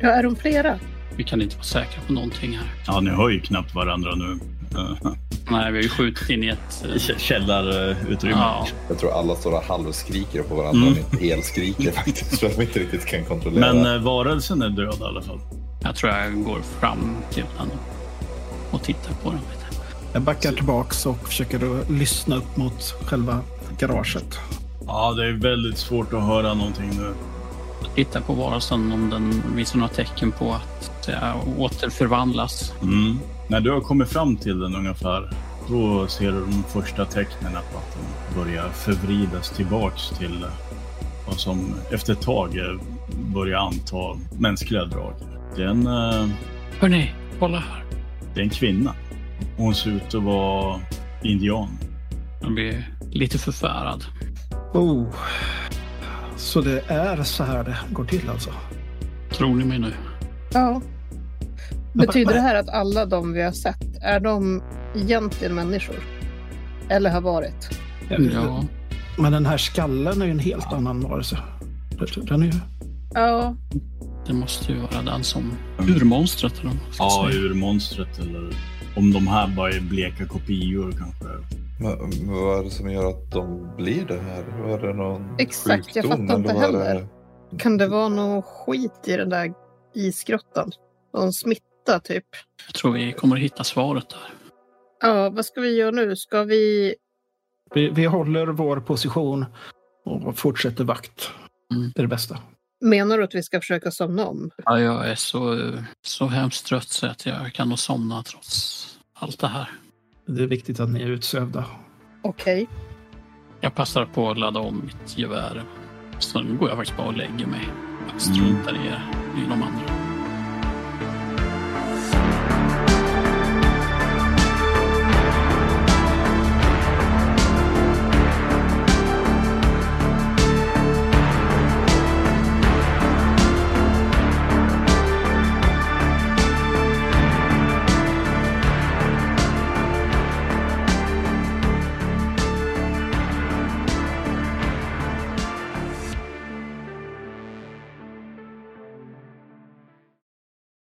[SPEAKER 5] Ja, är de flera?
[SPEAKER 3] Vi kan inte vara säkra på någonting här.
[SPEAKER 1] Ja, ni hör ju knappt varandra nu. Eh,
[SPEAKER 3] Nej, vi har ju skjutit in i ett... eh,
[SPEAKER 1] k- Källarutrymme.
[SPEAKER 3] Ja,
[SPEAKER 2] Jag tror alla står och halvskriker på varandra,
[SPEAKER 1] Mm.
[SPEAKER 2] men inte helskriker faktiskt. För att de inte riktigt kan kontrollera.
[SPEAKER 1] Men eh, varelsen är död i alla fall.
[SPEAKER 3] jag tror jag går fram till den och tittar på den lite.
[SPEAKER 4] Jag backar tillbaks och försöker att lyssna upp mot själva garaget.
[SPEAKER 1] Ja, det är väldigt svårt att höra någonting nu.
[SPEAKER 3] Tittar på varelsen om den visar några tecken på att eh, återförvandlas.
[SPEAKER 1] Mm. När du har kommit fram till den ungefär, då ser du de första tecknen på att den börjar förvridas tillbaks till eh, vad som efter ett tag eh, börjar anta mänskliga drag. Det är en, eh,
[SPEAKER 3] Hörni, kolla här.
[SPEAKER 1] det är en kvinna. Hon ser ut att vara indian.
[SPEAKER 3] Jag blir lite förfärad.
[SPEAKER 4] Oh. Så det är så här det går till alltså?
[SPEAKER 3] Tror ni mig nu?
[SPEAKER 5] Ja. Betyder det här att alla de vi har sett, är de egentligen människor? Eller har varit?
[SPEAKER 3] Ja.
[SPEAKER 4] Men den här skallen är ju en helt annan varelse. Den är ju...
[SPEAKER 5] Ja,
[SPEAKER 3] Det måste ju vara den som... Urmonstret eller vad man ska
[SPEAKER 1] Ja,
[SPEAKER 3] säga.
[SPEAKER 1] ur monstret eller om de här bara är bleka kopior kanske.
[SPEAKER 2] Men men vad är det som gör att de blir det här? Var det någon
[SPEAKER 5] Exakt, jag
[SPEAKER 2] sjukdom?
[SPEAKER 5] fattar inte
[SPEAKER 2] eller var det-
[SPEAKER 5] heller. kan det vara någon skit i den där isgrottan? Någon smitta typ?
[SPEAKER 3] Jag tror vi kommer att hitta svaret där.
[SPEAKER 5] Ja, vad ska vi göra nu? Ska vi...
[SPEAKER 4] Vi, vi håller vår position och fortsätter vakt.
[SPEAKER 3] Mm.
[SPEAKER 4] Det är det bästa.
[SPEAKER 5] Menar du att vi ska försöka somna om?
[SPEAKER 3] Ja, jag är så, så hemskt trött så att jag kan nog somna trots allt det här.
[SPEAKER 4] Det är viktigt att ni är utsövda.
[SPEAKER 5] Okej.
[SPEAKER 3] Jag passar på att ladda om mitt gevär. Sen går jag faktiskt bara och lägger mig. Jag struntar i er, i de andra.